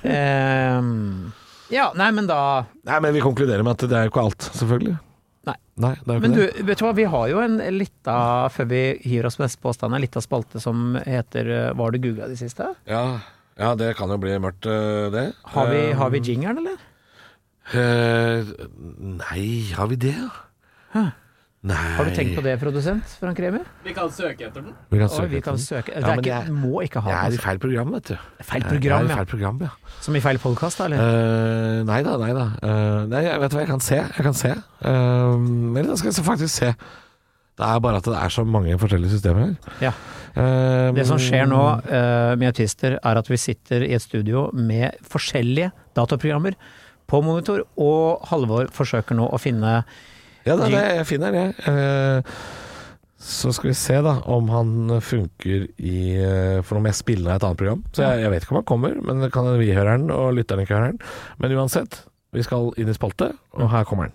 S3: Ehm, ja, nei, men da
S2: Nei, men vi konkluderer med at det er jo ikke alt, selvfølgelig.
S3: Nei.
S2: det er jo
S3: Men
S2: ikke
S3: du,
S2: det.
S3: vet du hva, vi har jo en lita, før vi hiver oss på neste påstand, en lita spalte som heter eh, Hva har du googla i det siste?
S2: Ja, ja, det kan jo bli mørkt, øh, det.
S3: Har vi,
S2: Eh,
S3: har vi jingeren, eller?
S2: eh, Nei, har vi det? Nei
S3: Har du tenkt på det, produsent Frank Remi?
S1: Vi kan søke etter den.
S2: Vi kan
S3: Oi,
S2: søke
S3: vi kan
S2: etter den.
S3: søke Det
S2: Ja,
S3: er
S2: men
S3: ikke,
S2: jeg-
S3: må ikke ha
S2: Jeg er
S3: den.
S2: i feil program, vet du.
S3: Feil
S2: Jeg
S3: program,
S2: er i
S3: ja.
S2: feil program, ja.
S3: Som i feil podkast, da, eller?
S2: Eh, nei da, nei da. Eh, nei, jeg vet du hva, jeg kan se. Jeg kan se. Eh, men jeg skal jeg faktisk se. Det er bare at det er så mange forskjellige systemer her.
S3: Ja.
S2: Eh,
S3: Det som skjer nå eh, med autister, er at vi sitter i et studio med forskjellige dataprogrammer på monitor, og Halvor forsøker nå å finne
S2: Ja, det er det jeg finner, jeg. Eh, så skal vi se da om han funker i eh, For nå må jeg spille av et annet program. Så jeg, jeg vet ikke om han kommer, men det kan hende vi hører den, og lytteren ikke hører den. Men uansett, vi skal inn i spalte, og her kommer den.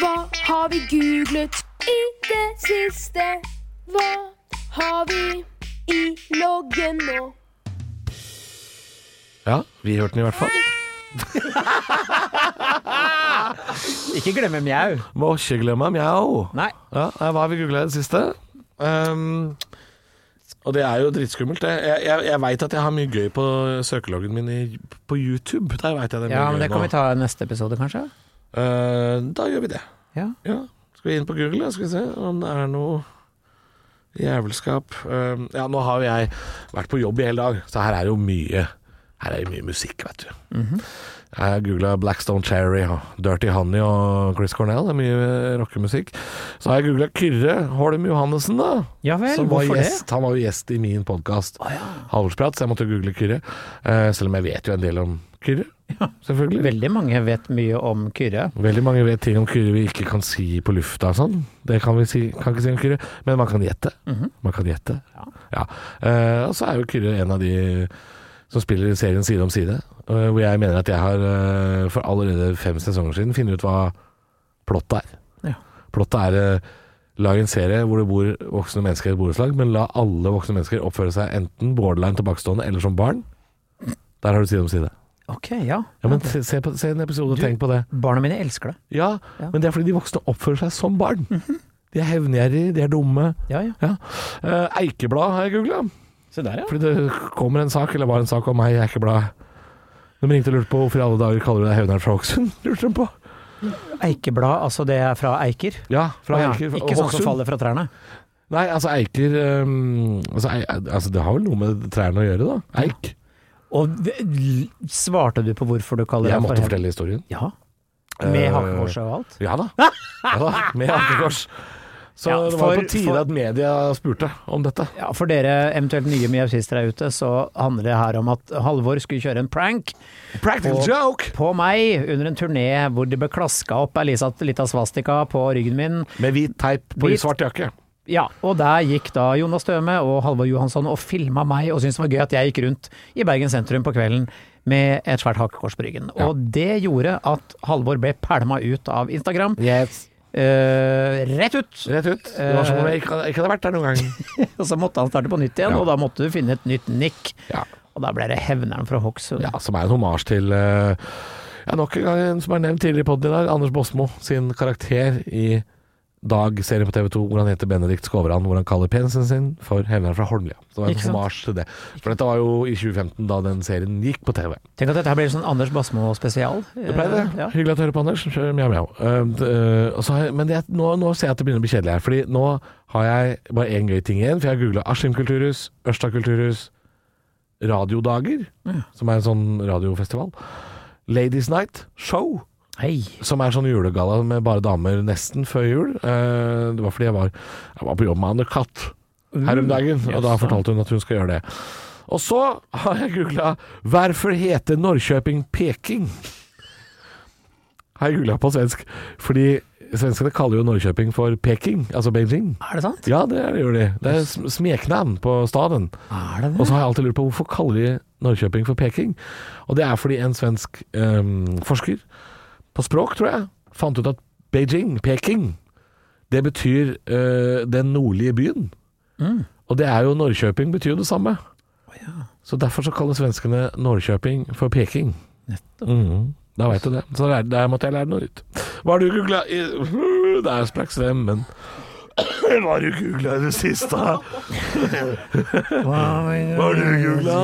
S4: Hva har vi googlet i det siste? Hva har vi i loggen nå?
S2: Ja, vi hørte den i hvert fall.
S3: Ikke glemme mjau!
S2: Må ikke glemme mjau.
S3: Nei.
S2: Ja, eh, hva har vi googla i det siste? Ehm, og det er jo dritskummelt. det. Jeg, jeg, jeg veit at jeg har mye gøy på søkeloggen min i, på YouTube. Der veit jeg det er mye
S3: Ja,
S2: gøy
S3: men det
S2: nå.
S3: kan vi ta i neste episode, kanskje?
S2: Eh, da gjør vi det.
S3: Ja.
S2: Ja. Skal vi inn på Google da? skal vi se om det er noe jævelskap Ehm, Ja, nå har jo jeg vært på jobb i hele dag, så her er jo mye Her er jo mye musikk, vet du.
S3: Mhm.
S2: Jeg har googla Blackstone Cherry og Dirty Honey og Chris Cornell. Det er mye eh, rockemusikk. Så har jeg googla Kyrre Holm Johannessen, da.
S3: Ja vel,
S2: som var
S3: hvorfor det?
S2: gjest, Han var jo gjest i min podkast Halvorsprat, så jeg måtte google Kyrre. Eh, selv om jeg vet jo en del om Kyrre, selvfølgelig.
S3: Veldig mange vet mye om Kyrre.
S2: Veldig mange vet ting om Kyrre vi ikke kan si på lufta og sånn. Det kan vi si, kan ikke si om Kyrre, men man kan gjette.
S3: Mhm.
S2: Man kan gjette. Ja. Eh, og så er jo Kyrre en av de som spiller serien Side om side, eh, hvor jeg mener at jeg har eh, for allerede fem sesonger siden funnet ut hva plottet er.
S3: Ja.
S2: Plottet er eh, lag en serie hvor det bor voksne mennesker i et borettslag, men la alle voksne mennesker oppføre seg enten borderline tilbakestående eller som barn. Der har du Side om side.
S3: Ok, ja.
S2: Ja, men se, se, på, se en episode og
S3: Du-
S2: tenk på det.
S3: Barna mine elsker det.
S2: Ja,
S3: Ja.
S2: men det er fordi de voksne oppfører seg som barn. De er hevngjerrige, de er dumme.
S3: Ja, ja.
S2: Ja. Eh, Eikeblad har jeg googla,
S3: Se der, ja.
S2: fordi det kommer en sak, eller var en sak om meg i Eikeblad. De ringte og lurte på hvorfor i alle dager kaller du deg hevneren fra Hokksund. Lurte de på.
S3: Eikeblad, altså det er fra eiker?
S2: Ja, fra
S3: Å ja,
S2: Eiker.
S3: Ikke sånn som faller fra trærne?
S2: Nei, altså Eiker ehm, altså, ei, altså Det har vel noe med trærne å gjøre, da. Eik.
S3: Og v- l- svarte du på hvorfor du kaller
S2: Jeg
S3: det
S2: måtte fortelle historien.
S3: Ja. Med
S2: Eh,
S3: hakekorset og alt?
S2: Ja da. Ja da, Med hakekors. Så
S3: Ja,
S2: det var
S3: for-
S2: på tide
S3: for-
S2: at media spurte om dette.
S3: Ja, For dere eventuelt nye miautister der ute, så handler det her om at Halvor skulle kjøre en prank
S2: Practical
S3: Og-
S2: joke!
S3: på meg under en turné hvor det ble klaska opp ei lita- lita svastika på ryggen min.
S2: Med hvit teip på
S3: Hvit-
S2: svart jakke.
S3: Ja, og der gikk da Jonas Døme og Halvor Johansson og filma meg, og syntes det var gøy at jeg gikk rundt i Bergen sentrum på kvelden med et svært hakekors på ryggen.
S2: Ja.
S3: Og det gjorde at Halvor ble pælma ut av Instagram.
S2: Yes.
S3: Eh, rett ut!
S2: Rett ut. Det var som om jeg ikke hadde, ikke hadde vært der noen gang.
S3: Og så måtte han starte på nytt igjen,
S2: Ja.
S3: og da måtte du finne et nytt nikk.
S2: Ja,
S3: Og da ble det Hevneren fra Hokksund.
S2: ja Som er en hommage til eh, ja, nok en gang en som er nevnt tidligere i podden i dag, Anders Båsmo sin karakter i Dag, serien på TV 2 hvor han heter Benedikt Skovran, hvor han kaller penisen sin for Hevneren fra Holmlia. Så det var en
S3: Ikke sant?
S2: hommage til det. For dette var jo i 2015, da den serien gikk på TV.
S3: Tenk at dette her blir sånn Anders Basmo spesial.
S2: Det ble det.
S3: Eh, Ja.
S2: Hyggelig at du hører på, Anders. Kjør Mjau, mjau. Eh, d- eh, og så har jeg- men det, er- nå, nå ser jeg at det begynner å bli kjedelig her. Fordi nå har jeg bare én gøy ting igjen. For jeg har googla Askim kulturhus, Ørsta kulturhus, Radiodager, som er en sånn radiofestival. Ladies Night Show,
S3: Hei.
S2: som er sånn julegalla med bare damer nesten før jul. Eh, det var fordi jeg var, jeg var på jobb med Anne Katt her om dagen, og da fortalte hun at hun skal gjøre det. Og så har jeg googla 'Hvorfor heter Norrköping Peking?' Har jeg googla på svensk. Fordi svenskene kaller jo Norrköping for Peking, altså Beijing.
S3: Mm. Er det sant?
S2: Ja, det er det gjør de. Det er sm- smeknavn på staden.
S3: Er det
S2: Og så har jeg alltid lurt på hvorfor kaller de Norrköping for Peking? Og det er fordi en svensk ehm, forsker på språk, tror jeg, fant ut at Beijing, Peking, det betyr eh, den nordlige byen.
S3: Mm.
S2: Og det er jo Norrköping betyr jo det samme. Så derfor så kaller svenskene Norrköping for Peking.
S3: Nettopp.
S2: Mhm. Da veit du det. Så der, der måtte jeg lære noe nytt. Hva har du googla i Der sprakk stemmen. Hva har du googla i det siste?
S3: Hva
S2: har du
S3: googla?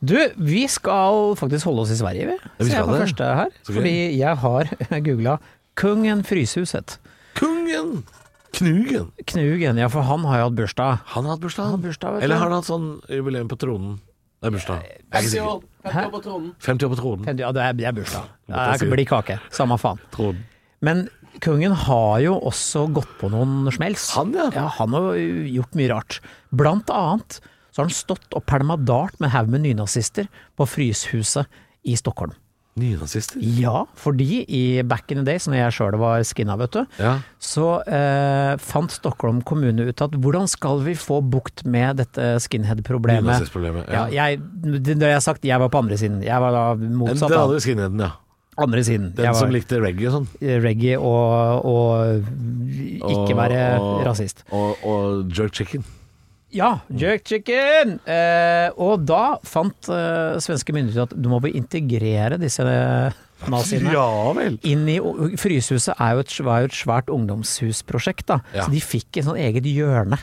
S3: Du, vi skal faktisk holde oss i Sverige, vi.
S2: vi
S3: Så jeg
S2: skal
S3: er på
S2: det.
S3: første her.
S2: Så gøy.
S3: Fordi jeg har googla Kungen Fryshuset.
S2: Kungen! Knugen.
S3: Knugen, ja for han har jo hatt bursdag.
S2: Han har hatt bursdag.
S3: Han har bursdag, vet du.
S2: Eller har han hatt sånn jubileum på tronen? Det er bursdag. Jeg er ikke sikker.
S1: 50 år på tronen.
S2: 50 år på tronen.
S3: Ja, det er, det er bursdag.
S2: må ta
S3: Det
S2: si.
S3: er- blir kake. Samme faen.
S2: tronen.
S3: Men Kungen har jo også gått på noen smells.
S2: Han, ja.
S3: Ja, han har jo gjort mye rart. Blant annet så har han stått og pælma dart med en haug med nynazister på Fryshuset i Stockholm.
S2: Nynazister.
S3: Ja, fordi i back in the days, når jeg sjøl var skinna, vet du,
S2: Ja.
S3: så eh, fant Stockholm kommune ut at hvordan skal vi få bukt med dette skinhead-problemet?
S2: Nynazistproblemet.
S3: Ja,
S2: Ja.
S3: jeg, det det har jeg sagt, jeg var på andre siden. Jeg var da
S2: Den,
S3: motsatt
S2: den
S3: av
S2: andre skinheaden, ja.
S3: andre siden.
S2: Den
S3: jeg var
S2: som likte reggae og sånn.
S3: reggae og, og ikke være
S2: og-
S3: rasist.
S2: Og, og jerk chicken.
S3: Ja, jerk chicken! Eh, og da fant eh, svenske myndigheter at du må vi integrere disse eh, naziene.
S2: Ja vel.
S3: Inn i, Fryshuset er jo et, var jo et svært ungdomshusprosjekt, da.
S2: Ja.
S3: så de fikk et sånn eget hjørne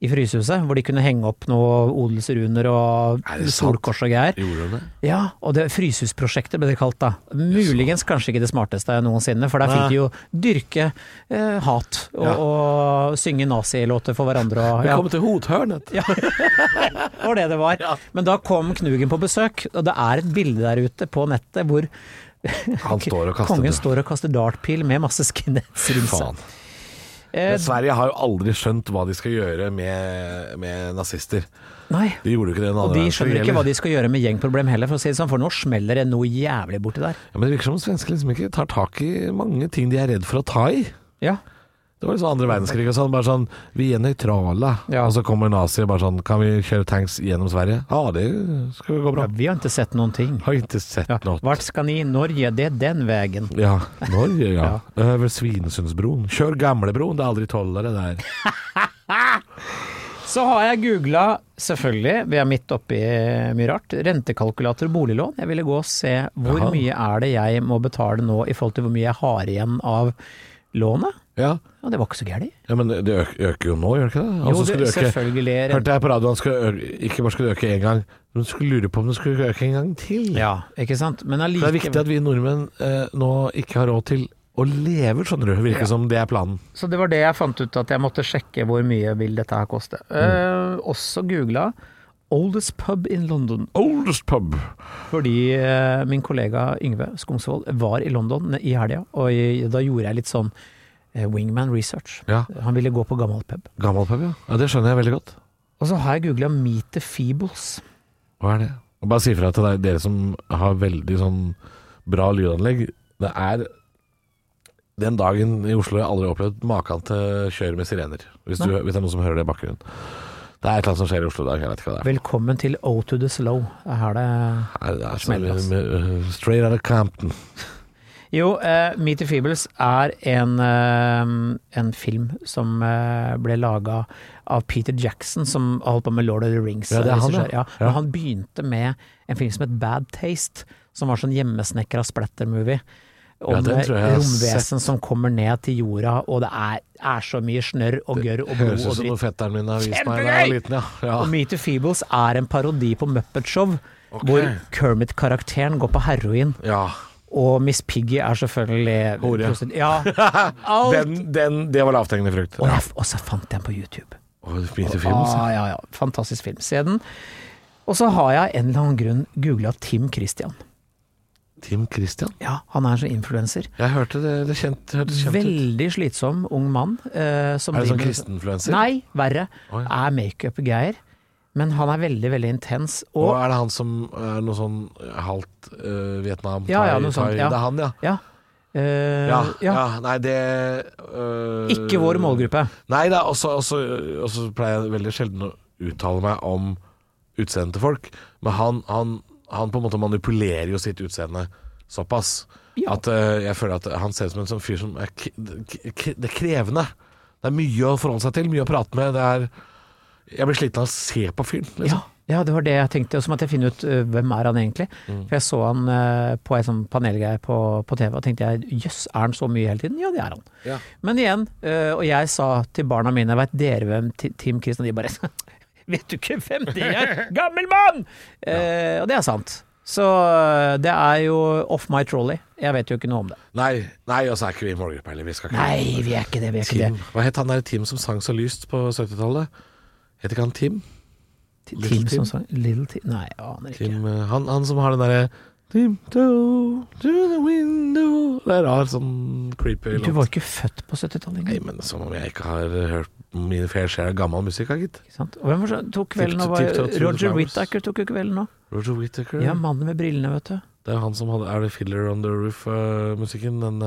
S3: i Fryshuset, hvor de kunne henge opp noe odelsruner og
S2: Er det sant?
S3: solkors og greier.
S2: Gjorde han det?
S3: Ja, og det Fryshusprosjektet ble det kalt da. Muligens kanskje ikke det smarteste noensinne, for der
S2: Nei.
S3: fikk de jo dyrke eh, hat og,
S2: Ja.
S3: og synge nazilåter for hverandre og ja,
S2: Velkommen til Hothørnet.
S3: det var det det var. Men da kom Knugen på besøk, og det er et bilde der ute på nettet hvor
S2: Han står og kaster
S3: kongen
S2: det.
S3: står og kaster dartpil med masse skinheads rundt
S2: Faen.
S3: seg. Eh,
S2: Men Sverige har jo aldri skjønt hva de skal gjøre med, med nazister.
S3: nei.
S2: De gjorde jo ikke det den
S3: Og
S2: andre
S3: de
S2: verdenskrig
S3: skjønner ikke hva
S2: heller.
S3: de skal gjøre med gjengproblem heller, for å si det sånn, for nå smeller det noe jævlig borti der.
S2: ja, Men det virker som svensker liksom ikke tar tak i mange ting de er redd for å ta i.
S3: Ja.
S2: Det var liksom andre verdenskrig og sånn. Bare sånn Vi er nøytrale.
S3: Ja.
S2: Og så kommer nazier bare sånn Kan vi kjøre tanks gjennom Sverige? Ja, det skal jo gå bra.
S3: ja, vi har ikke sett noen ting.
S2: Har ikke sett
S3: Ja.
S2: noe.
S3: Vart skal ni? Norge, det er den vegen.
S2: Ja. Norge, ja. Over Svinesundsbroen. Kjør gamlebroen, det er aldri tollere der.
S3: Så har jeg googla, selvfølgelig, vi er midt oppi mye rart, rentekalkulator og boliglån. Jeg ville gå og se hvor
S2: Jaha.
S3: mye er det jeg må betale nå i forhold til hvor mye jeg har igjen av lånet.
S2: Ja,
S3: Og det var ikke så gærent.
S2: ja men det øk, øker jo nå, gjør det ikke det? Og så
S3: Jo,
S2: skulle det
S3: det,
S2: øke-
S3: selvfølgelig. Rent,
S2: Hørte jeg på radioen skulle øke, ikke bare skulle det øke én gang, men skulle lure på om det skulle øke en gang til.
S3: ja, ikke sant. Men
S2: For Det er viktig
S3: allikevel.
S2: at vi nordmenn eh, nå ikke har råd til å leve, skjønner du. Virker som det er planen.
S3: Så det var det jeg fant ut, at jeg måtte sjekke hvor mye vil dette her koste.
S2: Mm.
S3: Eh, også googla Oldest pub in London,
S2: Oldest pub.
S3: fordi eh, min kollega Yngve Skomsvold var i London i helga, og i, da gjorde jeg litt sånn eh, wingman research.
S2: Ja,
S3: Han ville gå på gammel pub.
S2: gammel pub, ja. ja. Det skjønner jeg veldig godt.
S3: Og så har jeg googla Meet the Feebles.
S2: Hva er det? Og bare si ifra til deg, dere som har veldig sånn bra lydanlegg. Det er den dagen i Oslo jeg aldri har opplevd maken til kjør med sirener. Hvis, du, hvis det er noen som hører det i bakgrunnen. Det er et eller annet som skjer i Oslo i dag, jeg vet ikke hva det er.
S3: Velkommen til O to the Slow. Er Her det
S2: Nei, det er
S3: Smeller,
S2: sånn, uh, straight out of Campton.
S3: Jo, eh, Meet the Feebles er en, eh, en film som eh, ble laga av Peter Jackson, som har holdt på med Lord of the Rings.
S2: Ja, det er han,
S3: regissør.
S2: ja.
S3: Men
S2: Ja.
S3: Han begynte med en film som het Bad Taste, som var sånn hjemmesnekra splatter-movie. om
S2: Ja, den tror jeg jeg har
S3: romvesen som kommer ned til jorda, og det er, er så mye snørr og gørr og blod
S2: Høres ut
S3: og
S2: som
S3: dritt.
S2: noe fetteren min har vist meg da jeg var
S3: Kjempegøy!
S2: liten, ja. ja.
S3: Og Meet the Feebles er en parodi på Muppet Show, hvor Kermit-karakteren går på heroin,
S2: ja.
S3: og Miss Piggy er selvfølgelig
S2: Hore.
S3: prostitu- Ja. Alt.
S2: Den, den, det var lavthengende frukt.
S3: Og, jeg, og så fant jeg den på YouTube.
S2: Og fint i filmen, så.
S3: ah, ja, ja. Fantastisk film. Se den. Og så har jeg en eller annen grunn googla Tim Christian.
S2: Tim Christian.
S3: Ja, han er en sånn influenser.
S2: Jeg hørte det, det kjent, hørtes kjent ut.
S3: Veldig slitsom ung mann. eh, som
S2: Er det sånn
S3: driver-
S2: kristenfluenser?
S3: Nei, verre.
S2: Å,
S3: Er makeup-greier. Men han er veldig, veldig intens.
S2: Og
S3: Og
S2: er det han som er noe sånn halvt eh, Vietnam?
S3: Ja, ja,
S2: thai-
S3: noe sånt,
S2: thai-
S3: ja.
S2: Det er han, ja.
S3: ja. eh,
S2: Ja, ja.
S3: ja.
S2: nei, det øh,
S3: Ikke vår målgruppe.
S2: Nei da, og så- og så og så pleier jeg veldig sjelden å uttale meg om utseendet til folk. Men han, han, han på en måte manipulerer jo sitt utseende såpass
S3: Ja.
S2: at øh, jeg føler at han ser ut som en sånn fyr som er k k k Det er krevende. Det er mye å forholde seg til, mye å prate med. Det er Jeg blir sliten av å se på fyren. Liksom.
S3: Ja, ja, det var det jeg tenkte. Og så måtte jeg finne ut øh, hvem er han egentlig.
S2: Mm.
S3: For jeg så han øh, på ei sånn panelgreie på, på TV og tenkte jeg, jøss, er han så mye hele tiden? Ja, det er han.
S2: Ja.
S3: Men igjen, øh, og jeg sa til barna mine, veit dere hvem Ti- Tim Christian De bare Vet du ikke hvem det er? Gammel mann! Eh, og det er sant. Så øh, det er jo off my trolley. Jeg vet jo ikke noe om det.
S2: Nei, nei, og så er ikke vi i målgruppa heller. Vi skal ikke
S3: Nei, vi er ikke det. Vi er ikke
S2: Tim. Hva het han der Tim som sang så lyst på 70-tallet? Het ikke han Tim?
S3: det.
S2: Little
S3: Tim
S2: Tim?
S3: som sang Little Tim? Nei, jeg aner ikke.
S2: Tim eh, han, han som har den derre Tiptoe to the window Det er rar, sånn creepy
S3: Du
S2: låt.
S3: var ikke født på 70-tallet
S2: Nei,
S3: engang.
S2: men som om jeg ikke har hørt min fair share av gammel musikk, da, gitt.
S3: ikke sant? Og hvem var det som tok kvelden nå?
S2: Tip-
S3: Var-
S2: tiptoe through the
S3: Roger
S2: flowers.
S3: Whittaker tok jo kvelden nå.
S2: Roger Whittaker.
S3: Ja, mannen med brillene, vet du.
S2: Det er han som hadde Er det Fiddler on the Roof-musikken? den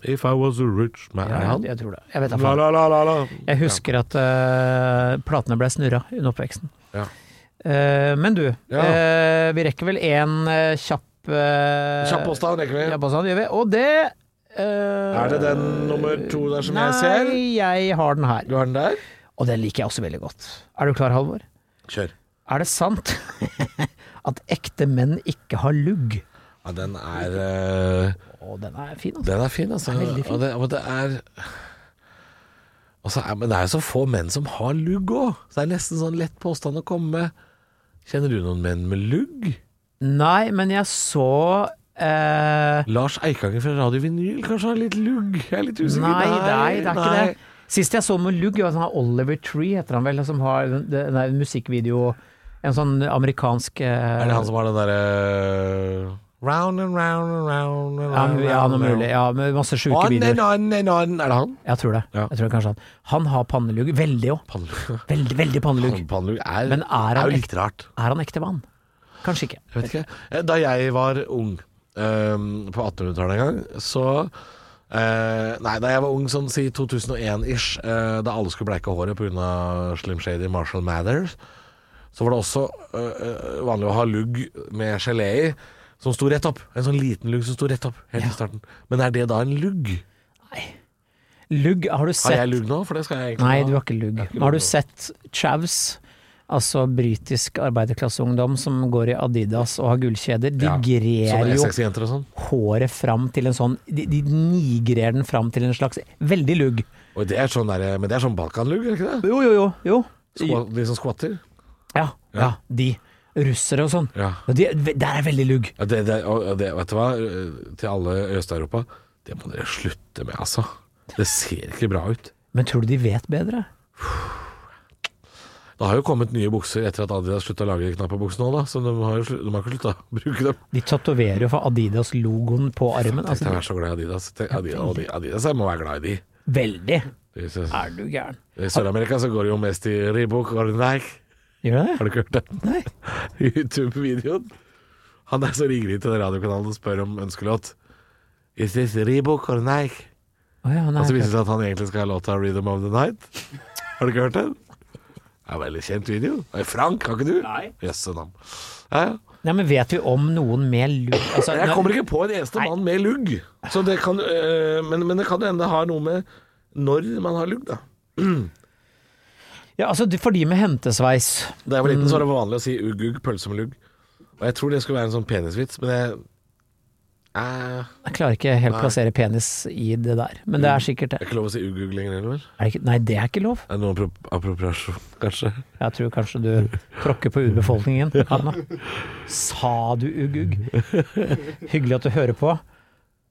S2: eh, If I Was a Rich Man Er
S3: Ja,
S2: han?
S3: jeg tror det. Jeg vet da
S2: La,
S3: faen.
S2: la, la, la, la.
S3: Jeg husker at eh, platene ble snurra under oppveksten.
S2: Ja.
S3: Eh, men du,
S2: Ja.
S3: eh, vi rekker vel én kjapp uh,
S2: Ja. Kjapp påstand, rekker vi.
S3: Ja, påstand gjør vi. Og det eh,
S2: Er det den nummer to der som
S3: nei,
S2: jeg ser?
S3: Nei, jeg har den her.
S2: Du har den der?
S3: Og den liker jeg også veldig godt. Er du klar, Halvor?
S2: Kjør.
S3: Er det sant at ekte menn ikke har lugg?
S2: Ja, den er eh,
S3: Å, den er fin, altså.
S2: Den er fin, altså.
S3: Den er veldig fin.
S2: Og det, og det er og så er, Men det er jo så få menn som har lugg òg, så det er nesten sånn lett påstand å komme med. Kjenner du noen menn med lugg?
S3: Nei, men jeg så eh,
S2: Lars Eikanger fra Radio Vinyl kanskje har litt lugg? Jeg er litt usikker.
S3: Nei, nei, det er ikke
S2: nei.
S3: det. Sist jeg så med lugg, var sånn her Oliver Tree, heter han vel, som har den den der musikkvideo En sånn amerikansk eh,
S2: Er det han som har den derre eh, Round and round and round and
S3: ja,
S2: round.
S3: ja,
S2: and
S3: noe
S2: round.
S3: mulig. Ja, med masse sjuke
S2: On and
S3: videoer.
S2: on and on. Er det han?
S3: Jeg tror det.
S2: Ja.
S3: Jeg tror kanskje han Han har pannelugg. Veldig òg.
S2: Pannelugg
S3: Veldig, veldig pannelugg.
S2: Pannelugg er,
S3: Men er han
S2: er jo
S3: ekte?
S2: litt rart.
S3: Er han ekte mann? Kanskje ikke.
S2: Jeg vet ikke. Eh, Da jeg var ung, ehm, på 1800-tallet en gang, så eh, Nei, da jeg var ung, sånn si 2001-ish, eh, da alle skulle bleike håret pga. Slim Shady Marshall Mathers, så var det også eh, eh, vanlig å ha lugg med gelé i. Som sto rett opp. En sånn liten lugg som sto rett opp helt i starten. Men er det da en lugg?
S3: Lugg, har du
S2: Har
S3: sett
S2: jeg lugg nå? For det skal jeg egentlig
S3: Nei,
S2: ha.
S3: du har ikke lugg.
S2: ikke
S3: Men har
S2: lugg.
S3: du sett Chavs? Altså britisk arbeiderklasseungdom som går i Adidas og har gullkjeder. De
S2: Ja,
S3: grer
S2: Sånne
S3: jo
S2: E6 jenter og sånn.
S3: håret fram til en sånn De, de nigrer den fram til en slags Veldig lugg.
S2: Og det er sånn der, men det er sånn balkanlugg, er det ikke det?
S3: Jo, jo, jo. jo.
S2: Skva, de som skvatter.
S3: Ja, ja, de. Russere og sånn.
S2: Ja.
S3: Og de, der er veldig lugg.
S2: Ja, det, det, og- og det, vet du hva, Eh, til alle i Øst-Europa, det må dere slutte med, altså. Det ser ikke bra ut.
S3: Men tror du de vet bedre?
S2: Det har jo kommet nye bukser etter at Adidas slutta å lage knappebukser nå, da. Så de har jo slu- de har ikke slutta å bruke dem.
S3: De tatoverer jo for Adidas-logoen på armen.
S2: Tenk
S3: Altså,
S2: deg å være så glad i Adidas. Tenk, Adidas, Adidas, Adidas jeg må være glad i de.
S3: veldig.
S2: de. så-
S3: Er du gæren?
S2: I Sør-Amerika så går det jo mest i Reebok og Nike.
S3: Gjør du det?
S2: Har du ikke hørt den
S3: Nei.
S2: YouTube-videoen? Han der som ringer inn til den radiokanalen og spør om ønskelåt. Is this Reebok or Nike?
S3: Å ja, nei.
S2: Og så
S3: jeg
S2: viser det seg at han egentlig skal ha låta 'Rhythm of the Night'. Har du ikke hørt den? Det er en veldig kjent video. Oi, Frank, har ikke du? Nei Jøsse navn. Ja, ja.
S3: klart. Nei, men vet vi om noen med lugg altså,
S2: Jeg
S3: nå-
S2: kommer ikke på en eneste mann med lugg. Så det kan, øh, men, men det kan jo hende det har noe med når man har lugg, da.
S3: ja, altså, For de med hentesveis.
S2: Da jeg var liten, så var det vanlig å si 'ugg, ugg, pølse med lugg'. Og jeg tror det skulle være en sånn penisvits, men jeg Eh,
S3: Jeg klarer ikke helt
S2: Nei. Mm.
S3: plassere penis i det der, men det er sikkert
S2: det er
S3: det.
S2: ikke lov å si ugugg lenger heller.
S3: Er det ikke, nei, det er ikke lov.
S2: Er det noe appro- appropriasjon, kanskje?
S3: Jeg tror kanskje du tråkker på urbefolkningen. Anna. Sa du ugg-ugg? Hyggelig at du hører på.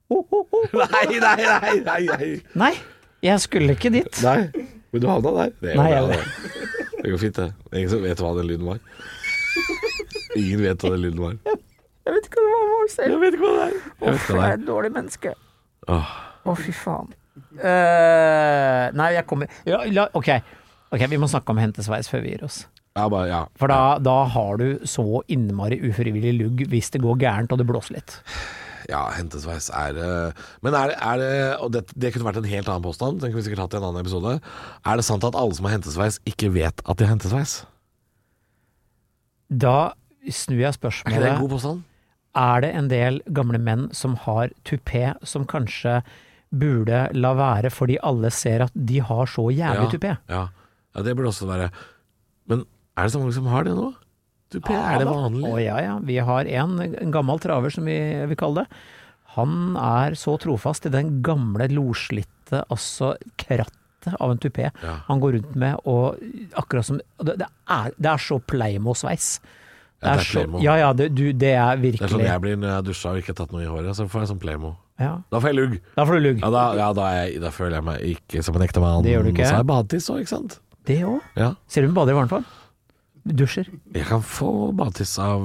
S3: Oh, oh, oh.
S2: Nei, nei, nei! nei, nei.
S3: Nei, jeg skulle ikke dit.
S2: Nei, men du havna der. Det går
S3: Nei,
S2: bra,
S3: jeg-
S2: det. Det går fint, det. Det er Ingen som vet hva den lyden var. Ingen vet hva den lyden var.
S3: Jeg vet ikke hva det var selv. Jeg vet ikke hva det er.
S2: Jeg vet hva det er.
S3: et dårlig menneske.
S2: Åh,
S3: Å, fy faen. Eh, nei, jeg kommer ja, la, ok. ok, vi må snakke om hentesveis før vi gir oss.
S2: jeg bare, ja.
S3: For da, da har du så innmari ufrivillig lugg hvis det går gærent og det blåser litt.
S2: ja, hentesveis er eh, Men er, det- er det Og det, det kunne vært en helt annen påstand, den kunne vi sikkert hatt i en annen episode. Er det sant at alle som har hentesveis, ikke vet at de har hentesveis?
S3: Da snur
S2: Er
S3: jeg
S2: ikke det en
S3: spørsmålet.
S2: god påstand?
S3: Er det en del gamle menn som har tupé, som kanskje burde la være fordi alle ser at de har så jævlig tupé?
S2: Ja. ja, det burde også være. Men er det så mange som har det nå? Tupé, er det
S3: Ah, da.
S2: vanlig?
S3: Å, ja, ja. Vi har en, en gammel traver, som vi vil kalle det. Han er så trofast i den gamle loslitte, altså krattet av en tupé
S2: Ja.
S3: han går rundt med, og akkurat som og Det, det, er, det er så Pleimo-sveis.
S2: Ja, det er
S3: så-
S2: Pleimo.
S3: Ja, ja, det, du, det er
S2: Det er sånn
S3: virkelig
S2: jeg blir når jeg har dusja og ikke tatt noe i håret. Så får jeg sånn playmo.
S3: ja.
S2: Da får jeg lugg.
S3: Da får du lugg.
S2: Ja, da, ja da, er jeg, da føler jeg meg ikke som en ekte mann.
S3: Det gjør du ikke.
S2: Så har jeg badetiss òg, ikke sant?
S3: Det òg.
S2: Ja.
S3: Ser du hun bader i varmt vann? Dusjer.
S2: Jeg kan få badetiss av,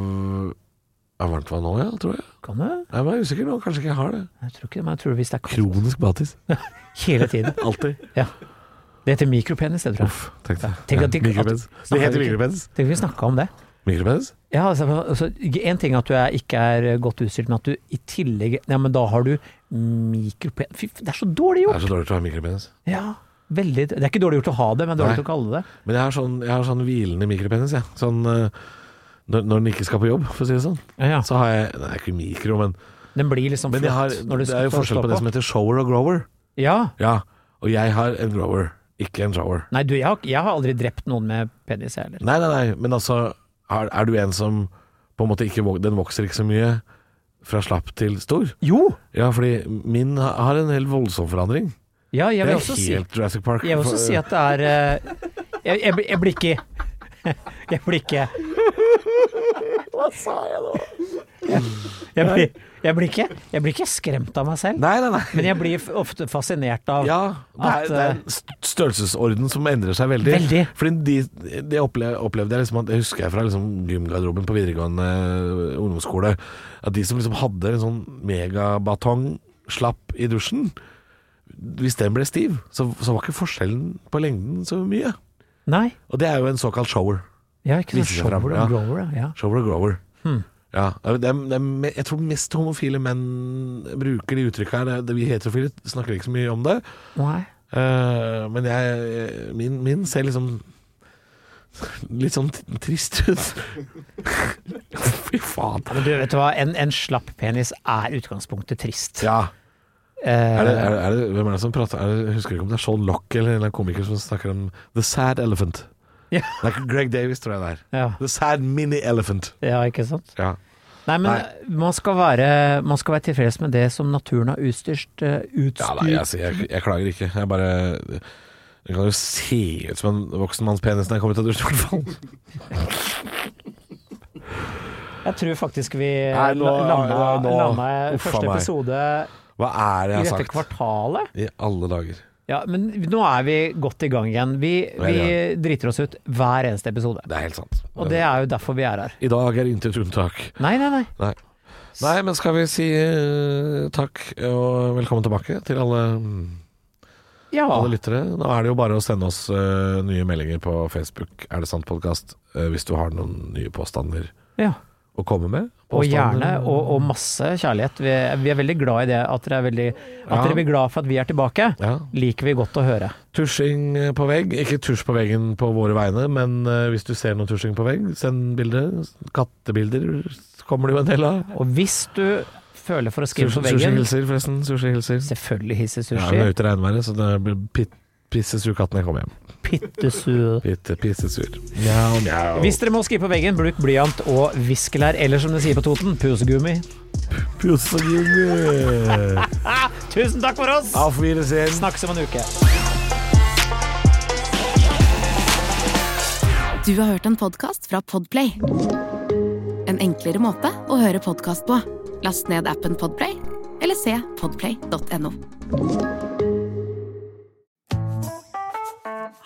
S2: av varmt vann òg, ja, tror jeg.
S3: Kan du?
S2: Jeg er usikker nå, kanskje ikke jeg har det.
S3: Jeg tror ikke det, men jeg tror hvis det er kaldt
S2: Kronisk badetiss.
S3: hele tiden.
S2: Alltid.
S3: Ja. Det heter mikropenis, det tror jeg.
S2: Uff, tenk deg.
S3: Tenk at de-
S2: Mikropens. Det heter
S3: Snakker vi ikke-
S2: mikropens.
S3: Tenk vi snakka om det.
S2: Mikropens?
S3: Ja, altså, altså, En ting er at du er, ikke er godt utstyrt, men at du i tillegg Ja, men da har du mikropenis Fy, f- det er så
S2: Det
S3: dårlig gjort!
S2: er så dårlig til å ha mikropenis.
S3: Ja, veldig Det er ikke dårlig gjort å ha det, men
S2: Nei.
S3: dårlig til å kalle det.
S2: Men jeg har sånn, jeg har sånn hvilende mikropenis, jeg. Sånn eh, når, når den ikke skal på jobb, for å si det sånn.
S3: Ja, ja.
S2: Så har jeg Nei, det er ikke mikro, men,
S3: Den blir liksom
S2: men
S3: flott
S2: jeg har,
S3: når du
S2: det er jo
S3: skal
S2: forskjell
S3: stå
S2: på det som heter shower og grower.
S3: Ja.
S2: Ja, og jeg har en grower, ikke en shower.
S3: Nei, du, jeg har, jeg har aldri drept noen med penis, jeg heller.
S2: Nei, nei, nei, men altså Er, er du en som på en måte ikke vok- Den vokser ikke så mye fra slapp til stor?
S3: Jo!
S2: Ja, fordi min ha- har en helt voldsom forandring.
S3: Ja, jeg
S2: Det
S3: vil
S2: er
S3: også
S2: helt
S3: si
S2: Jurassic Park.
S3: Jeg vil også si at det er eh, Jeg, jeg, blir- jeg blir ikke Jeg blir ikke
S2: Hva sa jeg nå?
S3: jeg blir, jeg blir ikke Jeg blir ikke skremt av meg selv,
S2: Nei, nei, nei.
S3: men jeg blir f- ofte fascinert av
S2: Ja, det er,
S3: At, eh,
S2: det er en st- størrelsesorden som endrer seg veldig.
S3: Veldig.
S2: Fordi de, det opple, opplevde jeg liksom at, Det husker jeg fra liksom gymgarderoben på videregående eh, ungdomsskole. At de som liksom hadde en sånn megabatong slapp i dusjen Hvis den ble stiv, så, så var ikke forskjellen på lengden så mye.
S3: Nei.
S2: Og det er jo en såkalt shower.
S3: Ja, ikke sant.
S2: Viser seg
S3: Shower
S2: fram,
S3: and
S2: ja.
S3: grower, ja. ja.
S2: Shower og grower.
S3: Hmm.
S2: Ja, det er, det er, me- jeg tror mest homofile menn bruker de uttrykka her. Det- det- Vi heterofile snakker ikke så mye om det.
S3: Nei.
S2: Eh, men jeg min, min ser liksom Litt sånn t- trist ut. Fy faen.
S3: Ja, Men du vet du hva, en, en slapp penis er utgangspunktet trist.
S2: Ja.
S3: Eh,
S2: Er det, er, det- er det, hvem er det som prater er det, Jeg husker ikke om det er Sean Lock eller en eller annen komiker som snakker om The Sad Elephant.
S3: Ja.
S2: Det er ikke Greg Davis, tror jeg det er.
S3: ja.
S2: The Sad Mini Elephant.
S3: ja, ikke sant.
S2: Ja.
S3: Nei, men Man, skal være, man skal være tilfreds med det som naturen har utstyrt. eh,
S2: Ja,
S3: utstyrt.
S2: nei, jeg, jeg, jeg klager ikke. Jeg bare Det kan jo se ut som en voksen manns penis når jeg kommer ut av dusjen, i hvert fall.
S3: jeg tror faktisk vi
S2: Nei, nå-
S3: landa,
S2: ja, nå-
S3: landa
S2: Uffa
S3: første
S2: meg.
S3: episode
S2: Hva er det
S3: i
S2: jeg har
S3: dette
S2: sagt?
S3: kvartalet.
S2: I alle dager.
S3: Ja, Men nå er vi godt i gang igjen. Vi,
S2: er i
S3: vi driter oss ut hver eneste episode.
S2: Det er helt sant.
S3: Og det er jo derfor vi er her.
S2: I dag er intet unntak.
S3: Nei, nei, nei.
S2: Nei. Nei, men skal vi si eh, takk og velkommen tilbake til alle,
S3: Ja.
S2: alle lyttere. Nå er det jo bare å sende oss eh, nye meldinger på Facebook, Er det sant podkast, hvis du har noen nye påstander
S3: ja.
S2: å komme med.
S3: Og gjerne,
S2: Påstander-
S3: og, og masse kjærlighet. Vi, vi er veldig glad i det, at dere, er veldig, at
S2: Ja.
S3: dere blir glad for at vi er tilbake.
S2: ja.
S3: Liker vi godt å høre.
S2: Tusjing eh, på vegg. Ikke tusj på veggen på våre vegne, men eh, hvis du ser noe tusjing på vegg, send bilde. Kattebilder kommer det jo en del av.
S3: Og hvis du føler for å skrive på
S2: Sushi-
S3: veggen
S2: Sushihilser, forresten. Sushihilser.
S3: Selvfølgelig hisse
S2: Ja,
S3: sushi.
S2: vi er ute i regnværet, så det blir pit- pissesur katt når jeg kommer hjem.
S3: Pittesur.
S2: Bitte pissesur. Mjau, mjau.
S3: Hvis dere må skrive på veggen, bruk blyant og viskelær, eller som de sier på Toten, pusegummi.
S2: Pussegummi.
S3: Tusen takk for oss!
S2: Auf Wiedersehen.
S3: Snakkes om en uke.
S1: Du har hørt en podcast fra Podplay En enklere måte å høre podcast på Last ned appen Podplay Eller se podplay.no